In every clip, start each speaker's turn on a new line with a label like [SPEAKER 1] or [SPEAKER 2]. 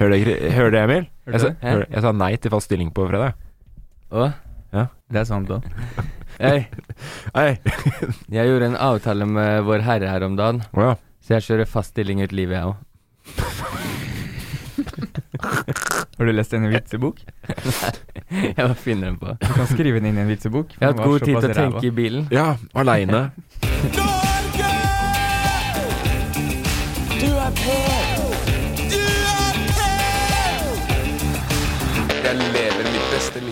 [SPEAKER 1] Hører du, hører du Emil?
[SPEAKER 2] Hører
[SPEAKER 1] jeg, sa,
[SPEAKER 2] du? Hæ?
[SPEAKER 1] hører, jeg sa nei til fast stilling på fredag.
[SPEAKER 2] Å?
[SPEAKER 1] Ja.
[SPEAKER 2] Det er sant da. Hei,
[SPEAKER 1] Hei!
[SPEAKER 2] jeg gjorde en avtale med vår herre her om dagen,
[SPEAKER 1] Å ja.
[SPEAKER 2] så jeg kjører fast stilling ut livet jeg òg.
[SPEAKER 3] Har du lest en vitsebok?
[SPEAKER 2] Jeg bare finner den på.
[SPEAKER 3] Du kan skrive den inn i en vitsebok.
[SPEAKER 2] Jeg har hatt god tid til å tenke i bilen.
[SPEAKER 1] ja Aleine.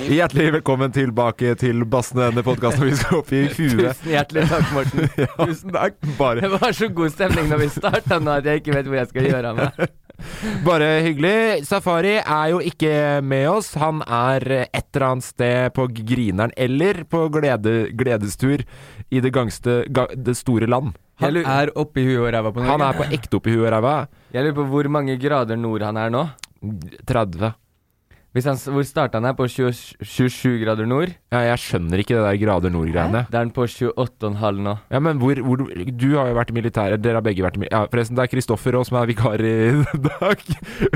[SPEAKER 1] Hjertelig velkommen tilbake til Bassene, denne podkasten hvor vi skal opp i huet.
[SPEAKER 2] Tusen hjertelig takk, Morten.
[SPEAKER 1] Tusen takk. Bare
[SPEAKER 2] Det var så god stemning når vi starta nå at jeg ikke vet hvor jeg skal gjøre av meg.
[SPEAKER 1] Bare hyggelig. Safari er jo ikke med oss. Han er et eller annet sted på Grineren eller på glede, gledestur i det, gangste, ga, det store land.
[SPEAKER 3] Han er oppi huet og ræva på Norge.
[SPEAKER 1] Han er på ekte oppi huet og ræva.
[SPEAKER 2] Jeg lurer på hvor mange grader nord han er nå.
[SPEAKER 1] 30.
[SPEAKER 2] Hvis han, s- hvor starta han her? På 20, 27 grader nord?
[SPEAKER 1] Ja, jeg skjønner ikke det der grader nord-greiene.
[SPEAKER 2] Da er han på 28,5 nå.
[SPEAKER 1] Ja, men hvor, hvor Du har jo vært i militæret. Dere har begge vært i militæret. Ja, forresten, det er Kristoffer òg som er vikar i dag.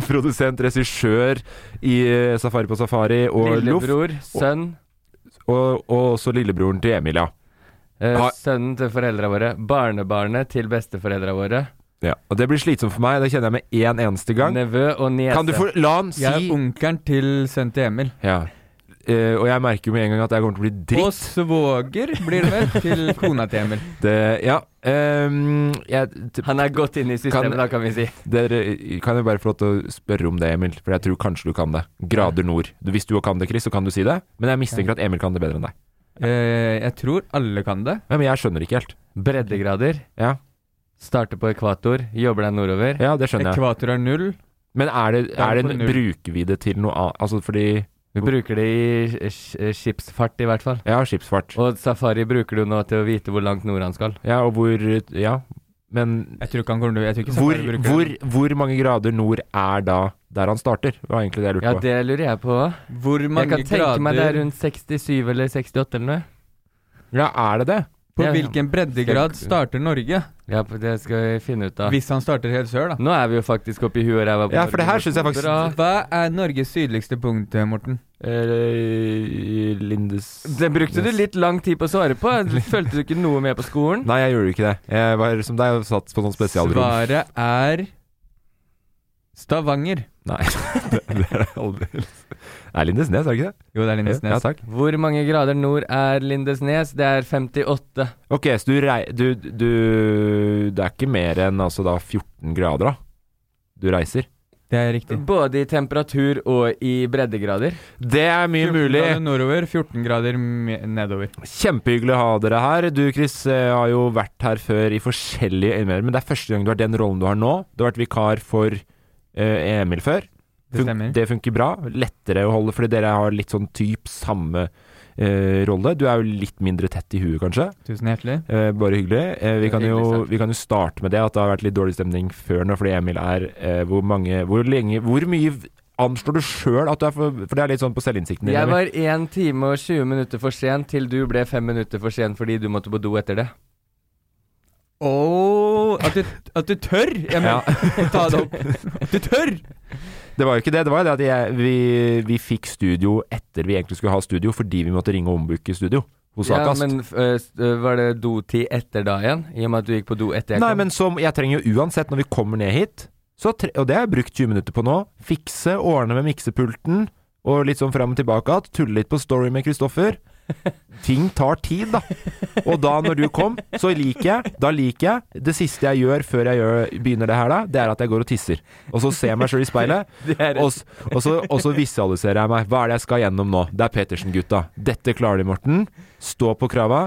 [SPEAKER 1] Produsent, regissør i eh, Safari på safari og Loff.
[SPEAKER 2] Lillebror, sønn.
[SPEAKER 1] Og, og også lillebroren til Emil, ja.
[SPEAKER 2] Eh,
[SPEAKER 1] Har-
[SPEAKER 2] sønnen til foreldra våre. Barnebarnet til besteforeldra våre.
[SPEAKER 1] Ja, og det blir slitsomt for meg, det kjenner jeg med en eneste gang.
[SPEAKER 2] Nevø og niese.
[SPEAKER 1] Kan du få La han si
[SPEAKER 3] Jeg er onkelen til sønnen til Emil.
[SPEAKER 1] ja. Eh, Og jeg merker jo med en gang at jeg kommer til å bli
[SPEAKER 3] Og
[SPEAKER 1] dritt.
[SPEAKER 3] svoger blir det vel til kona til Emil.
[SPEAKER 1] Det- Eh, ja. ehm, jeg, t
[SPEAKER 2] Han er godt inne i systemet,
[SPEAKER 1] Kan-
[SPEAKER 2] da, kan vi si.
[SPEAKER 1] dere kan jo bare få lov til å spørre om det, Emil, for jeg tror kanskje du kan det. Grader nord. Du- Hvis du også kan det, Chris, så kan du si det, men jeg mistenker at Emil kan det bedre enn deg.
[SPEAKER 3] Eh, jeg tror alle kan det.
[SPEAKER 1] Ja, men jeg skjønner ikke helt.
[SPEAKER 2] Breddegrader.
[SPEAKER 1] Ja,
[SPEAKER 2] Starter på ekvator, jobber deg nordover.
[SPEAKER 1] ja det skjønner jeg.
[SPEAKER 3] Ekvator er null.
[SPEAKER 1] Men er det, er det en,
[SPEAKER 3] på null.
[SPEAKER 1] bruker vi det til noe annet? Altså fordi
[SPEAKER 2] Vi bruker det i eh, sk- eh, skipsfart, i hvert fall.
[SPEAKER 1] Ja, skipsfart.
[SPEAKER 2] Og safari bruker du nå til å vite hvor langt nord han skal.
[SPEAKER 1] Ja, og hvor Ja. Men
[SPEAKER 3] Jeg tror ikke han kommer til jeg tror ikke
[SPEAKER 1] hvor,
[SPEAKER 3] Safari bruker
[SPEAKER 1] hvor,
[SPEAKER 3] den.
[SPEAKER 1] hvor mange grader nord er da der han starter? Det var egentlig det jeg lurte
[SPEAKER 2] Ja,
[SPEAKER 1] på.
[SPEAKER 2] det lurer jeg på òg.
[SPEAKER 3] hvor
[SPEAKER 2] Jeg
[SPEAKER 3] mange
[SPEAKER 2] kan tenke meg det er
[SPEAKER 3] grader
[SPEAKER 2] rundt 67 eller 68 eller noe.
[SPEAKER 1] Ja, er det det?
[SPEAKER 3] På
[SPEAKER 2] Ja, ja.
[SPEAKER 3] hvilken breddegrad starter Norge?
[SPEAKER 2] Ja, på- det skal vi finne ut av.
[SPEAKER 3] Hvis han starter helt sør, da.
[SPEAKER 2] Nå er vi jo faktisk oppi huet og ræva. på
[SPEAKER 1] Ja, for det her
[SPEAKER 2] Norge.
[SPEAKER 1] synes jeg faktisk-
[SPEAKER 2] Bra.
[SPEAKER 3] Hva er Norges sydligste punkt, Morten?
[SPEAKER 1] Eh, Lindes...
[SPEAKER 2] Det brukte du litt lang tid på å svare på. Følte du ikke noe med på skolen?
[SPEAKER 1] Nei, jeg gjorde ikke det. Jeg var som deg og satt på sånn spesialrom.
[SPEAKER 3] Svaret er Stavanger.
[SPEAKER 1] Nei, det, det er det aldri. Nei, Lindesnes, er det ikke det?
[SPEAKER 3] Jo, det er Lindesnes.
[SPEAKER 1] Ja, takk.
[SPEAKER 2] Hvor mange grader nord er Lindesnes? Det er 58.
[SPEAKER 1] Ok, så du, rei, du, du Det er ikke mer enn altså da 14 grader, da? Du reiser?
[SPEAKER 3] Det er riktig.
[SPEAKER 2] Både i temperatur og i breddegrader.
[SPEAKER 1] Det er mye
[SPEAKER 3] 14
[SPEAKER 1] mulig.
[SPEAKER 3] grader nordover, 14 grader me- nedover.
[SPEAKER 1] Kjempehyggelig å ha dere her. Du Chris eh, har jo vært her før i forskjellige øyemer, men det er første gang du har den rollen du har nå. Du har vært vikar for eh, Emil før.
[SPEAKER 3] Det stemmer.
[SPEAKER 1] det funker bra. Lettere å holde fordi dere har litt sånn typ samme eh, rolle. Du er jo litt mindre tett i huet, kanskje.
[SPEAKER 3] Tusen hjertelig.
[SPEAKER 1] Eh, bare hyggelig. Eh,
[SPEAKER 2] Det er
[SPEAKER 1] vi, kan
[SPEAKER 2] hyggelig
[SPEAKER 1] jo,
[SPEAKER 2] sagt.
[SPEAKER 1] vi kan jo starte med det at det har vært litt dårlig stemning før nå, fordi Emil er eh, hvor, mange, hvor lenge Hvor mye anslår du sjøl at du er for, for det er litt sånn på selvinnsikten din.
[SPEAKER 2] Jeg
[SPEAKER 1] Emil.
[SPEAKER 2] var 1 time og 20 minutter for sen til du ble 5 minutter for sen fordi du måtte på do etter det.
[SPEAKER 3] Åh, at, du, at du tør! Jeg
[SPEAKER 1] ja,
[SPEAKER 3] mener, ta det opp. Du tør!
[SPEAKER 1] det var jo ikke det. Det var jo det at jeg, vi, vi fikk studio etter vi egentlig skulle ha studio, fordi vi måtte ringe og ombooke studio hos
[SPEAKER 2] Ja,
[SPEAKER 1] Akast.
[SPEAKER 2] men øh, s- øh, var det dotid etter da igjen? I og med at du gikk på do etter jeg
[SPEAKER 1] Nei,
[SPEAKER 2] kom?
[SPEAKER 1] men som jeg trenger jo uansett når vi kommer ned hit, så tre og det har jeg brukt 20 minutter på nå, fikse, ordne med miksepulten, og litt sånn fram og tilbake igjen, tulle litt på story med Kristoffer. Ting tar tid, da. Og da, når du kom, så liker jeg Da liker jeg Det siste jeg gjør før jeg gjør, begynner det her, da, det er at jeg går og tisser. Og så ser jeg meg sjøl i speilet, og, s- og, så, og så visualiserer jeg meg. Hva er det jeg skal gjennom nå? Det er Petersen-gutta. Dette klarer de, Morten. Stå på krava.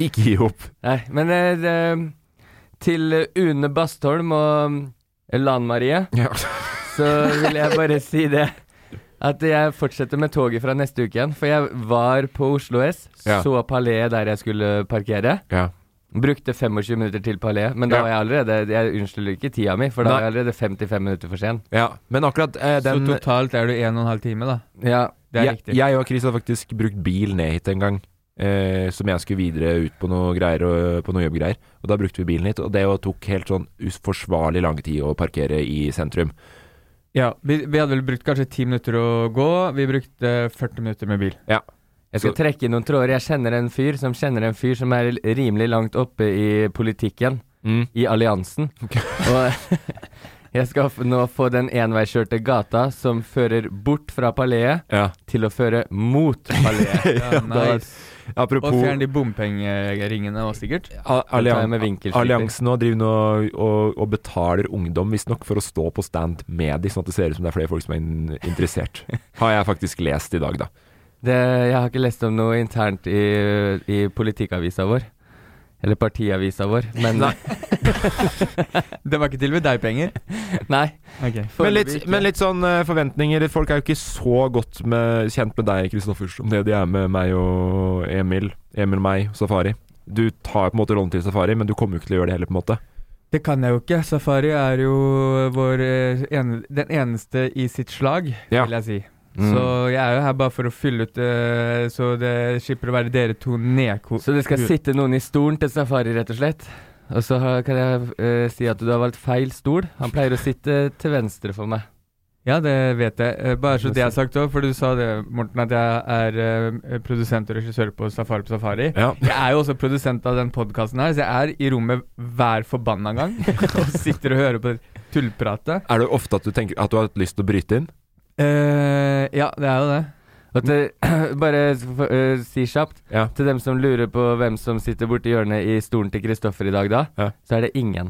[SPEAKER 1] Ikke gi opp.
[SPEAKER 2] Nei, men øh, det- til øh, Une Bastholm og øh, Lan Marie,
[SPEAKER 1] Ja.
[SPEAKER 2] så vil jeg bare si det. At jeg fortsetter med toget fra neste uke igjen. For jeg var på Oslo S,
[SPEAKER 1] Ja.
[SPEAKER 2] så Palais der jeg skulle parkere.
[SPEAKER 1] ja.
[SPEAKER 2] Brukte 25 minutter til Palais, men da
[SPEAKER 1] Ja.
[SPEAKER 2] var jeg allerede Jeg unnskylder ikke tida mi, for da
[SPEAKER 1] Nei.
[SPEAKER 2] var jeg allerede 55 minutter for sen.
[SPEAKER 1] Ja, men akkurat eh, den
[SPEAKER 3] Så totalt er du en og en halv time, da.
[SPEAKER 2] Ja,
[SPEAKER 3] Det er
[SPEAKER 1] jeg,
[SPEAKER 3] riktig.
[SPEAKER 1] jeg og Chris har faktisk brukt bil ned hit en gang. Eh, som jeg skulle videre ut på noe greier og, på noe jobbgreier. Og da brukte vi bilen hit, og det jo tok helt sånn uforsvarlig lang tid å parkere i sentrum.
[SPEAKER 3] Ja, vi, vi hadde vel brukt kanskje ti minutter å gå. Vi brukte 40 minutter med bil.
[SPEAKER 2] jeg skal
[SPEAKER 1] Så-
[SPEAKER 2] trekke inn noen tråder. Jeg kjenner en fyr som kjenner en fyr som er rimelig langt oppe i politikken,
[SPEAKER 1] Mm.
[SPEAKER 2] i alliansen. Og jeg skal f- nå få den enveiskjørte gata som fører bort fra Palais
[SPEAKER 1] Ja.
[SPEAKER 2] til å føre mot Palais.
[SPEAKER 3] Ja, nice. Og
[SPEAKER 1] Apropos
[SPEAKER 3] fjern de bompengeringene òg, sikkert.
[SPEAKER 1] a-
[SPEAKER 2] Da tar jeg
[SPEAKER 1] allian
[SPEAKER 2] med vinkelsliter.
[SPEAKER 1] alliansen nå driver nå og, og, og betaler ungdom visstnok for å stå på stand med de, sånn at det ser ut som det er flere folk som er in interessert. Har jeg faktisk lest i dag, da.
[SPEAKER 2] Det, jeg har ikke lest om noe internt i, i politikkavisa vår. Eller partiavisa vår, men Nei.
[SPEAKER 3] Det var ikke tilbudt deg penger. Ok.
[SPEAKER 1] Men litt,
[SPEAKER 2] Foreløpig ikke.
[SPEAKER 1] men litt sånn eh, forventninger. Folk er jo ikke så godt med, kjent med deg, Kristoffer, som det de er med meg og Emil. Emil, meg, Safari. Du tar på en måte rollen til Safari, men du kommer jo ikke til å gjøre det heller, på en måte.
[SPEAKER 3] Det kan jeg jo ikke. Safari er jo vår eh, ene, den eneste i sitt slag,
[SPEAKER 1] Ja.
[SPEAKER 3] vil jeg si. Så jeg er jo her bare for å fylle ut eh, så det slipper å være dere to nedko...
[SPEAKER 2] Så det skal
[SPEAKER 3] Gud.
[SPEAKER 2] sitte noen i stolen til safari, rett og slett. Og så har- kan jeg eh, si at du har valgt feil stol. Han pleier å sitte til venstre for meg.
[SPEAKER 3] Ja, det vet jeg. Eh, Bare så det er sagt òg, for du sa det, Morten, at jeg er eh, produsent og regissør på Safari på Safari.
[SPEAKER 1] Ja.
[SPEAKER 3] Jeg er jo også produsent av den podkasten her, så jeg er i rommet hver forbanna gang og sitter og hører på det tullpratet.
[SPEAKER 1] Er det ofte at du tenker at du har hatt lyst til å bryte inn?
[SPEAKER 3] Eh, ja, det er jo det.
[SPEAKER 2] Og til, bare for, eh, si kjapt
[SPEAKER 1] Ja.
[SPEAKER 2] til dem som lurer på hvem som sitter borti hjørnet i stolen til Kristoffer i dag, da,
[SPEAKER 1] Ja.
[SPEAKER 2] så er det ingen.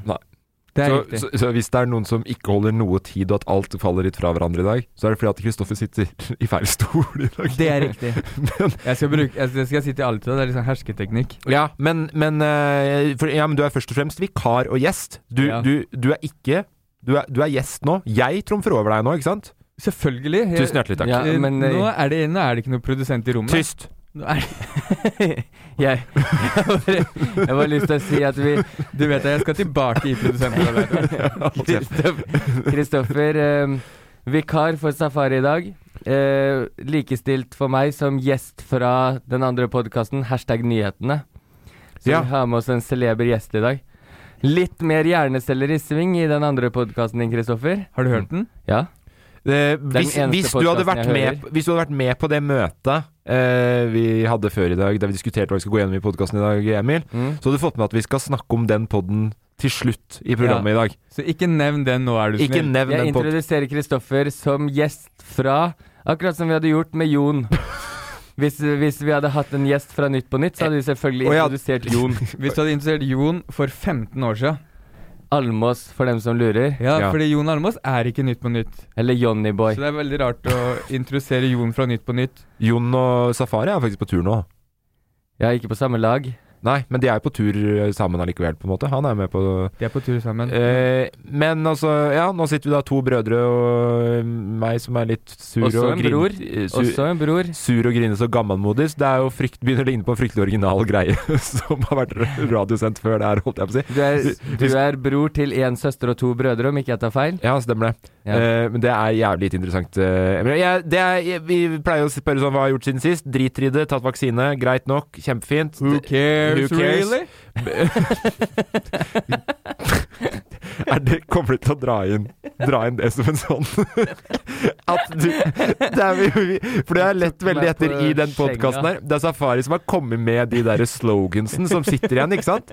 [SPEAKER 3] Det er
[SPEAKER 1] Så,
[SPEAKER 3] riktig.
[SPEAKER 1] så, så hvis det er noen som ikke holder noe tid, og at alt faller litt fra hverandre i dag, så er det fordi at Kristoffer sitter i feil stol i dag.
[SPEAKER 3] Det er riktig. jeg skal bruke jeg, Det skal jeg si til alle til deg, det er liksom hersketeknikk.
[SPEAKER 1] Ja, men, men, eh, for, ja, men du er først og fremst vikar og gjest. Du,
[SPEAKER 3] Ja.
[SPEAKER 1] du, du er ikke du er, du er gjest nå. Jeg trumfer over deg nå, ikke sant?
[SPEAKER 3] Selvfølgelig. jeg-
[SPEAKER 1] Tusen hjertelig takk.
[SPEAKER 2] Ja,
[SPEAKER 3] Eh,
[SPEAKER 2] men, eh,
[SPEAKER 3] nå, er det, nå er det ikke noen produsent i rommet.
[SPEAKER 1] Tyst.
[SPEAKER 3] Nå er det,
[SPEAKER 2] Jeg, jeg, bare, jeg bare lyst til å si at vi
[SPEAKER 3] du vet at jeg skal tilbake i produsentrollen.
[SPEAKER 2] Kristoff- Kristoffer, eh, vikar for Safari i dag. Eh, likestilt for meg som gjest fra den andre podkasten, hashtag nyhetene. Så
[SPEAKER 1] Ja.
[SPEAKER 2] vi har med oss en celeber gjest i dag. Litt mer hjerneceller i sving i den andre podkasten din, Kristoffer.
[SPEAKER 3] Har du hørt den?
[SPEAKER 2] Ja.
[SPEAKER 1] Eh, hvis,
[SPEAKER 2] eneste
[SPEAKER 1] hvis, du hadde
[SPEAKER 2] podcasten
[SPEAKER 1] vært
[SPEAKER 2] jeg
[SPEAKER 1] med,
[SPEAKER 2] hører.
[SPEAKER 1] hvis du hadde vært med på det møtet eh, vi hadde før i dag, der vi diskuterte hva vi skal gå gjennom i podkasten i dag, Emil,
[SPEAKER 2] Mm.
[SPEAKER 1] så hadde du fått med at vi skal snakke om den poden til slutt i programmet i dag.
[SPEAKER 3] Så ikke nevn den nå, er du
[SPEAKER 1] Ikke
[SPEAKER 3] snill.
[SPEAKER 1] nevn
[SPEAKER 2] Jeg
[SPEAKER 1] den podden.
[SPEAKER 2] introduserer Kristoffer som gjest fra Akkurat som vi hadde gjort med Jon. Hvis, hvis vi hadde hatt en gjest fra Nytt på Nytt, så hadde vi selvfølgelig
[SPEAKER 1] Å ja.
[SPEAKER 2] introdusert Jon
[SPEAKER 3] Hvis du hadde interessert Jon for 15 år siden
[SPEAKER 2] Almås, for dem som lurer.
[SPEAKER 3] ja,
[SPEAKER 1] Ja.
[SPEAKER 3] fordi Jon Almaas er ikke Nytt på Nytt.
[SPEAKER 2] Eller Johnnyboy.
[SPEAKER 3] Så det er veldig rart å introdusere Jon fra Nytt på Nytt.
[SPEAKER 1] Jon og Safari er faktisk på tur nå.
[SPEAKER 2] Jeg er ikke på samme lag.
[SPEAKER 1] Nei, men de er jo på tur eh, sammen allikevel, på en måte. Han er med på
[SPEAKER 3] De er på tur sammen.
[SPEAKER 1] Eh, men altså, ja, nå sitter vi da to brødre og eh, meg som er litt sur
[SPEAKER 2] Også
[SPEAKER 1] og
[SPEAKER 2] en
[SPEAKER 1] grin-
[SPEAKER 2] bror.
[SPEAKER 1] eh, sur,
[SPEAKER 2] Også en bror.
[SPEAKER 1] sur og grine så gammelmodig. så Det er jo frykt, begynner å ligne på en fryktelig original greie som har vært radiosendt før det her, holdt jeg på å si.
[SPEAKER 2] Du er, du er bror til én søster og to brødre, om ikke jeg tar feil.
[SPEAKER 1] Ja, stemmer det.
[SPEAKER 2] Ja.
[SPEAKER 1] Eh, men det er jævlig lite interessant. eh, men jeg, det er, jeg, vi pleier å spørre sånn hva jeg har gjort siden sist. Driter i det, tatt vaksine, greit nok, kjempefint.
[SPEAKER 3] Who cares,
[SPEAKER 1] Who cares?
[SPEAKER 3] really?
[SPEAKER 1] Er det kommer du til å dra inn, dra inn det som en sånn At du det er, vi- vi- For det har jeg lett veldig
[SPEAKER 2] meg på
[SPEAKER 1] etter i den
[SPEAKER 2] skjenga.
[SPEAKER 1] podkasten her. Det er Safari som har kommet med de derre slogansen som sitter igjen, ikke sant?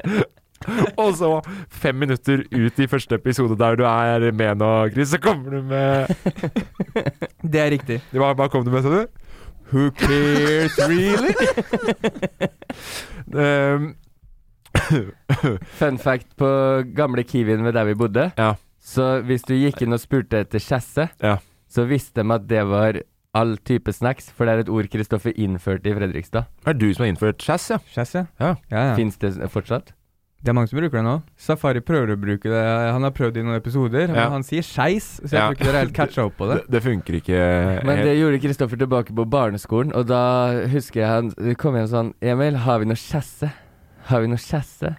[SPEAKER 1] Og så, fem minutter ut i første episode der du er med nå, Chris, så kommer du med
[SPEAKER 3] Det er riktig.
[SPEAKER 1] Hva, hva kom du med, sa du? Who cares really? um,
[SPEAKER 2] Fun fact på gamle Kiwien ved der vi bodde.
[SPEAKER 1] Ja.
[SPEAKER 2] Så hvis du gikk inn og spurte etter chasse,
[SPEAKER 1] Ja.
[SPEAKER 2] så visste de at det var all type snacks, for det er et ord Kristoffer innførte i Fredrikstad.
[SPEAKER 1] er det du som har innført chass, ja?
[SPEAKER 3] Chess, ja.
[SPEAKER 1] Ja.
[SPEAKER 3] ja, ja.
[SPEAKER 2] Fins det fortsatt?
[SPEAKER 3] Det er mange som bruker det nå. Safari prøver å bruke det. Han har prøvd i noen episoder,
[SPEAKER 1] Ja.
[SPEAKER 3] men han sier skeis, så jeg
[SPEAKER 1] Ja.
[SPEAKER 3] tror ikke dere helt catcha opp på det.
[SPEAKER 1] Det, det funker ikke.
[SPEAKER 2] Men
[SPEAKER 1] helt.
[SPEAKER 2] det gjorde Kristoffer tilbake på barneskolen, og da husker jeg han det kom igjen sånn Emil, har vi noe chasse? Har vi noe chasse?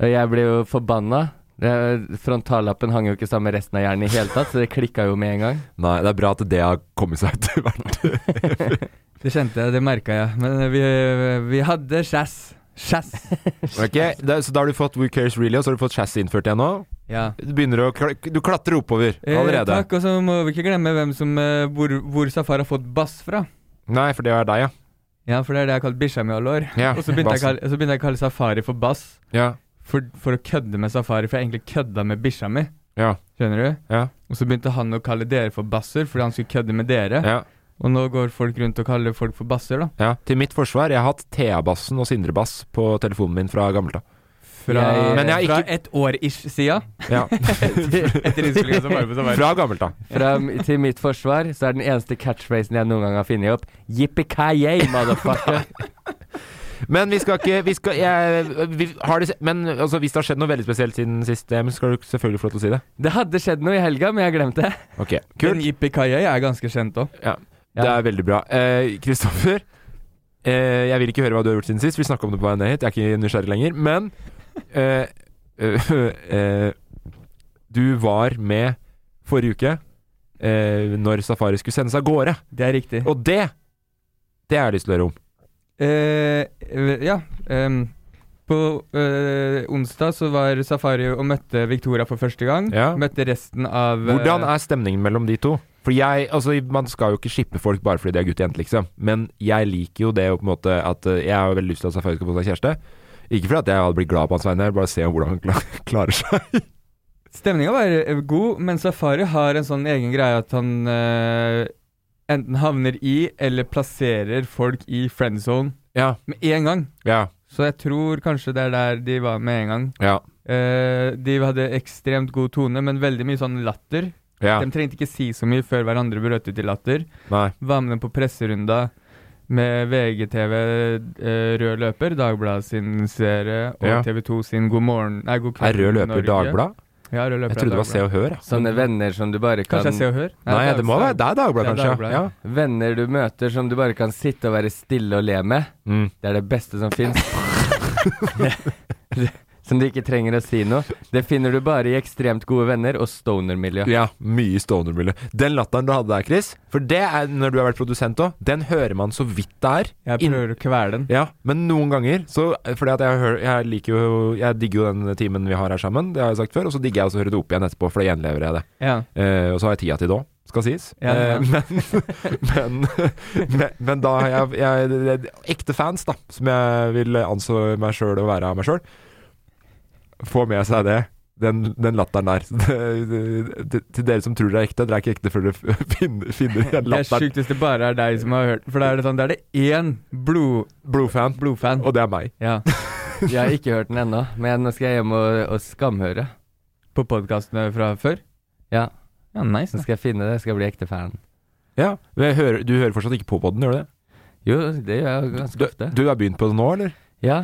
[SPEAKER 2] Og jeg ble jo forbanna. Det- Frontallappen hang jo ikke sammen med resten av hjernen i hele tatt, så det klikka jo med en gang.
[SPEAKER 1] Nei, det er bra at det har kommet seg etter hvert.
[SPEAKER 3] Det kjente jeg, det merka jeg. Men eh, vi, vi hadde skjæss. Skjæss.
[SPEAKER 1] Ok, det, så da har du fått Who Cares Really, og så har du fått chass innført igjen nå.
[SPEAKER 3] Ja.
[SPEAKER 1] Du begynner å kla- Du klatrer oppover
[SPEAKER 3] Eh,
[SPEAKER 1] allerede.
[SPEAKER 3] takk, og så må vi ikke glemme hvem som, eh, hvor, hvor Safari har fått bass fra.
[SPEAKER 1] Nei, for det er deg, ja.
[SPEAKER 3] Ja, for det er det jeg har kalt bikkja mi i alle år.
[SPEAKER 1] ja
[SPEAKER 3] Og så begynte, jeg å
[SPEAKER 1] bassen.
[SPEAKER 3] kalle- så begynte jeg å kalle Safari for bass,
[SPEAKER 1] Ja,
[SPEAKER 3] for, for å kødde med Safari, for jeg egentlig kødda med bikkja mi.
[SPEAKER 1] ja,
[SPEAKER 3] Skjønner du?
[SPEAKER 1] ja.
[SPEAKER 3] Og så begynte han å kalle dere for basser, fordi han skulle kødde med dere.
[SPEAKER 1] ja.
[SPEAKER 3] Og nå går folk rundt og kaller folk for basser, da.
[SPEAKER 1] Ja, Til mitt forsvar, jeg har hatt Thea-bassen og Sindre-bass på telefonen min fra gammelt av.
[SPEAKER 3] Fra,
[SPEAKER 2] Jeg- Men
[SPEAKER 1] jeg har
[SPEAKER 3] fra
[SPEAKER 1] ikke-
[SPEAKER 3] ett år-ish sida.
[SPEAKER 1] Ja.
[SPEAKER 3] Etter innspillinga som var på Safari.
[SPEAKER 1] Fra gammelt av.
[SPEAKER 2] Fra, til mitt forsvar så er den eneste catchphrasen jeg noen gang har funnet opp, yippee-ki-yay, motherfucker.
[SPEAKER 1] Men vi skal ikke vi skal, jeg, vi har det, Men altså, hvis det har skjedd noe veldig spesielt siden sist, Emil, skal du selvfølgelig få lov til å si det.
[SPEAKER 2] Det hadde skjedd noe i helga, men jeg glemte det.
[SPEAKER 1] Ok,
[SPEAKER 3] Den
[SPEAKER 1] Kult.
[SPEAKER 3] Yippie-kaia er ganske kjent òg.
[SPEAKER 1] Ja. Det er veldig bra. Eh, Kristoffer, eh, jeg vil ikke høre hva du har gjort siden sist. Vi snakka om det på vei ned hit. Jeg er ikke nysgjerrig lenger. Men eh, eh, eh, du var med forrige uke eh, når Safari skulle sendes av gårde.
[SPEAKER 3] Det er riktig.
[SPEAKER 1] Og det det har jeg lyst til å høre om.
[SPEAKER 3] Eh, eh, ja. ehm, på eh, onsdag så var Safari og møtte Victoria for første gang.
[SPEAKER 1] Ja.
[SPEAKER 3] Møtte resten av eh,
[SPEAKER 1] Hvordan er stemningen mellom de to? For jeg, altså Man skal jo ikke shippe folk bare fordi de er gutt og jente, liksom. Men jeg liker jo det å på en måte at eh, Jeg har jo veldig lyst til at Safari skal få seg kjæreste. Ikke fordi at jeg hadde blitt glad på hans vegne, jeg vil bare se hvordan han kla- klarer seg.
[SPEAKER 3] Stemninga var eh, god, men Safari har en sånn egen greie at han eh, enten havner i eller plasserer folk i friend zone
[SPEAKER 1] Ja,
[SPEAKER 3] med en gang.
[SPEAKER 1] ja,
[SPEAKER 3] Så jeg tror kanskje det er der de var med en gang.
[SPEAKER 1] ja.
[SPEAKER 3] Eh, de hadde ekstremt god tone, men veldig mye sånn latter.
[SPEAKER 1] Ja,
[SPEAKER 3] De trengte ikke si så mye før hverandre brøt ut i latter.
[SPEAKER 1] nei.
[SPEAKER 3] Var med dem på presserunda med VGTV eh, Rød løper, Dagbladet sin serie, og
[SPEAKER 1] Ja.
[SPEAKER 3] TV2 sin God morgen Nei, God
[SPEAKER 1] Er
[SPEAKER 3] kveld
[SPEAKER 1] rød løper Dagblad?
[SPEAKER 3] Ja, Rød løper
[SPEAKER 1] Jeg
[SPEAKER 3] er
[SPEAKER 1] trodde det var
[SPEAKER 3] Dagbladet.
[SPEAKER 1] Se og Hør. Ja.
[SPEAKER 2] Sånne venner som du bare kan
[SPEAKER 3] Kanskje jeg ser og hører?
[SPEAKER 1] Nei, det må være
[SPEAKER 3] Dagbladet.
[SPEAKER 1] det er Dagbladet,
[SPEAKER 3] Det er
[SPEAKER 1] kanskje.
[SPEAKER 3] Dagbladet.
[SPEAKER 1] Ja.
[SPEAKER 2] Venner du møter som du bare kan sitte og være stille og le med.
[SPEAKER 1] Mm.
[SPEAKER 2] Det er det beste som fins. som du ikke trenger å si noe. Det finner du bare i ekstremt gode venner og stoner-miljø.
[SPEAKER 1] ja, mye stoner-miljø. Den latteren du hadde der, Chris, for det er når du har vært produsent òg, den hører man så vidt det er.
[SPEAKER 3] Jeg
[SPEAKER 1] Inn-
[SPEAKER 3] prøver å kvele den.
[SPEAKER 1] Ja, men noen ganger så Fordi at jeg, hører, jeg liker jo Jeg digger jo den timen vi har her sammen, det har jeg sagt før, og så digger jeg også å høre det opp igjen etterpå, for da gjenlever jeg det.
[SPEAKER 3] Ja.
[SPEAKER 1] Eh, og så har jeg tida til det òg, skal sies.
[SPEAKER 3] Ja, ja.
[SPEAKER 1] Eh, men, men, men, men da har jeg, jeg det er Ekte fans, da, som jeg vil anså meg sjøl å være av meg sjøl, får med seg det. Den, den latteren der. Så Det, det, til dere som tror dere er ekte, dere er ikke ekte før dere f- finner, finner igjen
[SPEAKER 3] Det er
[SPEAKER 1] latteren.
[SPEAKER 3] sjukt hvis det bare er deg som har hørt For da er det sånn, da er det én blod,
[SPEAKER 1] Blodfan.
[SPEAKER 3] blodfan.
[SPEAKER 1] Og det er meg.
[SPEAKER 3] Ja.
[SPEAKER 2] Jeg har ikke hørt den ennå, men nå skal jeg hjem og, og skamhøre.
[SPEAKER 3] På podkastene fra før?
[SPEAKER 2] Ja.
[SPEAKER 3] Ja, nice.
[SPEAKER 2] Så
[SPEAKER 3] da.
[SPEAKER 2] skal jeg finne det, skal jeg bli ekte fan.
[SPEAKER 1] Ja, men jeg hører, Du hører fortsatt ikke på podden, gjør du det?
[SPEAKER 2] Jo, det gjør jeg jo ganske
[SPEAKER 1] Du,
[SPEAKER 2] ofte.
[SPEAKER 1] du har begynt på det nå, eller?
[SPEAKER 2] Ja.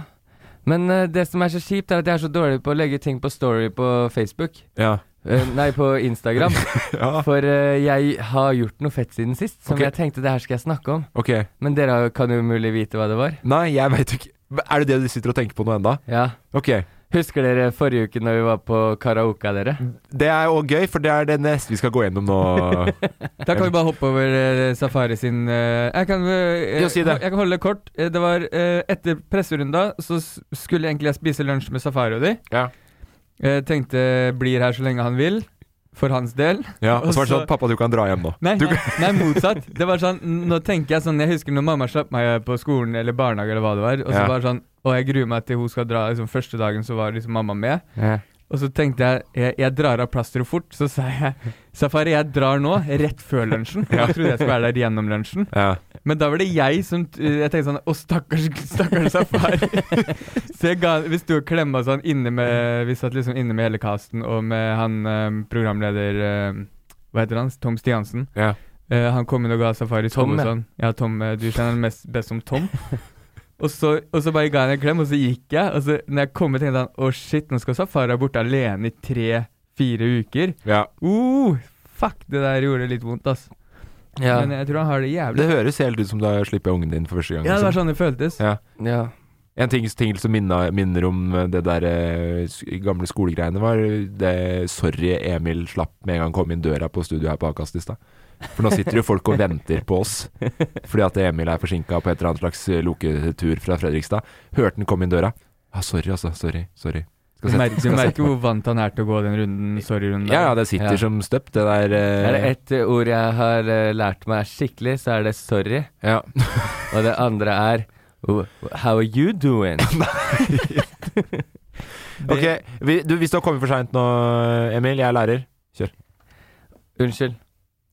[SPEAKER 2] Men eh, det som er så kjipt, er at jeg er så dårlig på å legge ting på story på Facebook.
[SPEAKER 1] Ja.
[SPEAKER 2] Eh, nei, på Instagram.
[SPEAKER 1] Ja.
[SPEAKER 2] For eh, jeg har gjort noe fett siden sist, som
[SPEAKER 1] Ok.
[SPEAKER 2] jeg tenkte det her skal jeg snakke om.
[SPEAKER 1] Ok.
[SPEAKER 2] Men dere har- kan jo mulig vite hva det var.
[SPEAKER 1] Nei, jeg veit ikke. Er det det du sitter og tenker på nå enda?
[SPEAKER 2] Ja.
[SPEAKER 1] Ok.
[SPEAKER 2] Husker dere forrige uke når vi var på karaoke, dere?
[SPEAKER 1] Det er jo gøy, for det er det neste vi skal gå gjennom nå.
[SPEAKER 3] Da kan vi bare hoppe over eh, Safari sin eh, Jeg kan eh,
[SPEAKER 1] Jo, si det.
[SPEAKER 3] Jeg kan holde det kort. Eh, Det var eh, etter presserunda, så s- skulle egentlig jeg spise lunsj med Safari og de.
[SPEAKER 1] Ja.
[SPEAKER 3] Jeg tenkte blir her så lenge han vil, for hans del.
[SPEAKER 1] Ja, og så var det
[SPEAKER 3] Og så-
[SPEAKER 1] sånn Pappa, du kan dra hjem nå.
[SPEAKER 3] Nei, nei, nei, motsatt. Det var sånn, Nå tenker jeg sånn Jeg husker når mamma slapp meg eh, på skolen eller barnehage eller hva det var, og så
[SPEAKER 1] Ja.
[SPEAKER 3] var det sånn Og jeg gruer meg til hun skal dra. Liksom, første dagen så var liksom mamma med.
[SPEAKER 2] Ja.
[SPEAKER 3] Og så tenkte jeg, jeg jeg drar av plasteret fort. Så sa jeg Safari, jeg drar nå, rett før lunsjen. Jeg trodde jeg skulle være der gjennom lunsjen.
[SPEAKER 1] Ja.
[SPEAKER 3] Men da var det jeg som t- Jeg tenkte sånn Å, stakkars, stakkars Safari. så jeg ga, vi sto og klemma sånn inne med Vi satt liksom inne med hele casten og med han eh, programleder eh, Hva heter han? Tom Stiansen.
[SPEAKER 1] Ja.
[SPEAKER 3] Eh, han kom inn og ga Safari
[SPEAKER 2] Tom,
[SPEAKER 3] Tom.
[SPEAKER 2] ja.
[SPEAKER 3] og sånn. Ja, Tom, eh, du kjenner han mest, best som Tom. og, så, og så bare ga han en klem, og så gikk jeg. Og så når jeg kom ut, tenkte han å shit, nå skal Safari være borte alene i tre-fire uker.
[SPEAKER 1] ja.
[SPEAKER 3] Uh, fuck, det der gjorde litt vondt, ass.
[SPEAKER 2] Ja.
[SPEAKER 1] eh,
[SPEAKER 3] Men jeg tror han har det
[SPEAKER 1] Det
[SPEAKER 3] jævlig
[SPEAKER 1] høres helt ut som du har sluppet ungen din for første gang.
[SPEAKER 3] Ja, det var
[SPEAKER 1] liksom.
[SPEAKER 3] sånn det føltes.
[SPEAKER 1] Ja.
[SPEAKER 2] ja.
[SPEAKER 1] En ting, ting som minner, minner om eh, det der eh, s- gamle skolegreiene, var det 'sorry, Emil slapp med en gang han kom inn døra på studio her på Akast i stad'. For nå sitter jo folk og venter på oss fordi at Emil er forsinka på et eller annet slags eh, loketur fra Fredrikstad. Hørte han kom inn døra. Ja, sorry, altså. Sorry. Sorry.
[SPEAKER 3] Du
[SPEAKER 1] Skal sette-
[SPEAKER 3] merker,
[SPEAKER 1] skal
[SPEAKER 3] du
[SPEAKER 1] sette
[SPEAKER 3] merker
[SPEAKER 1] meg.
[SPEAKER 3] hvor vant han er til å gå den runden, sorry-runden.
[SPEAKER 1] Ja, ja, det sitter
[SPEAKER 2] Ja.
[SPEAKER 1] som støpt, det der. eh,
[SPEAKER 2] Er det ett eh, ord jeg har eh, lært meg skikkelig, så er det sorry.
[SPEAKER 1] Ja.
[SPEAKER 2] Og det andre er oh, How are you doing?
[SPEAKER 1] Ok, vi, du, hvis du har kommet for seint nå, Emil. Jeg er lærer.
[SPEAKER 2] Unnskyld.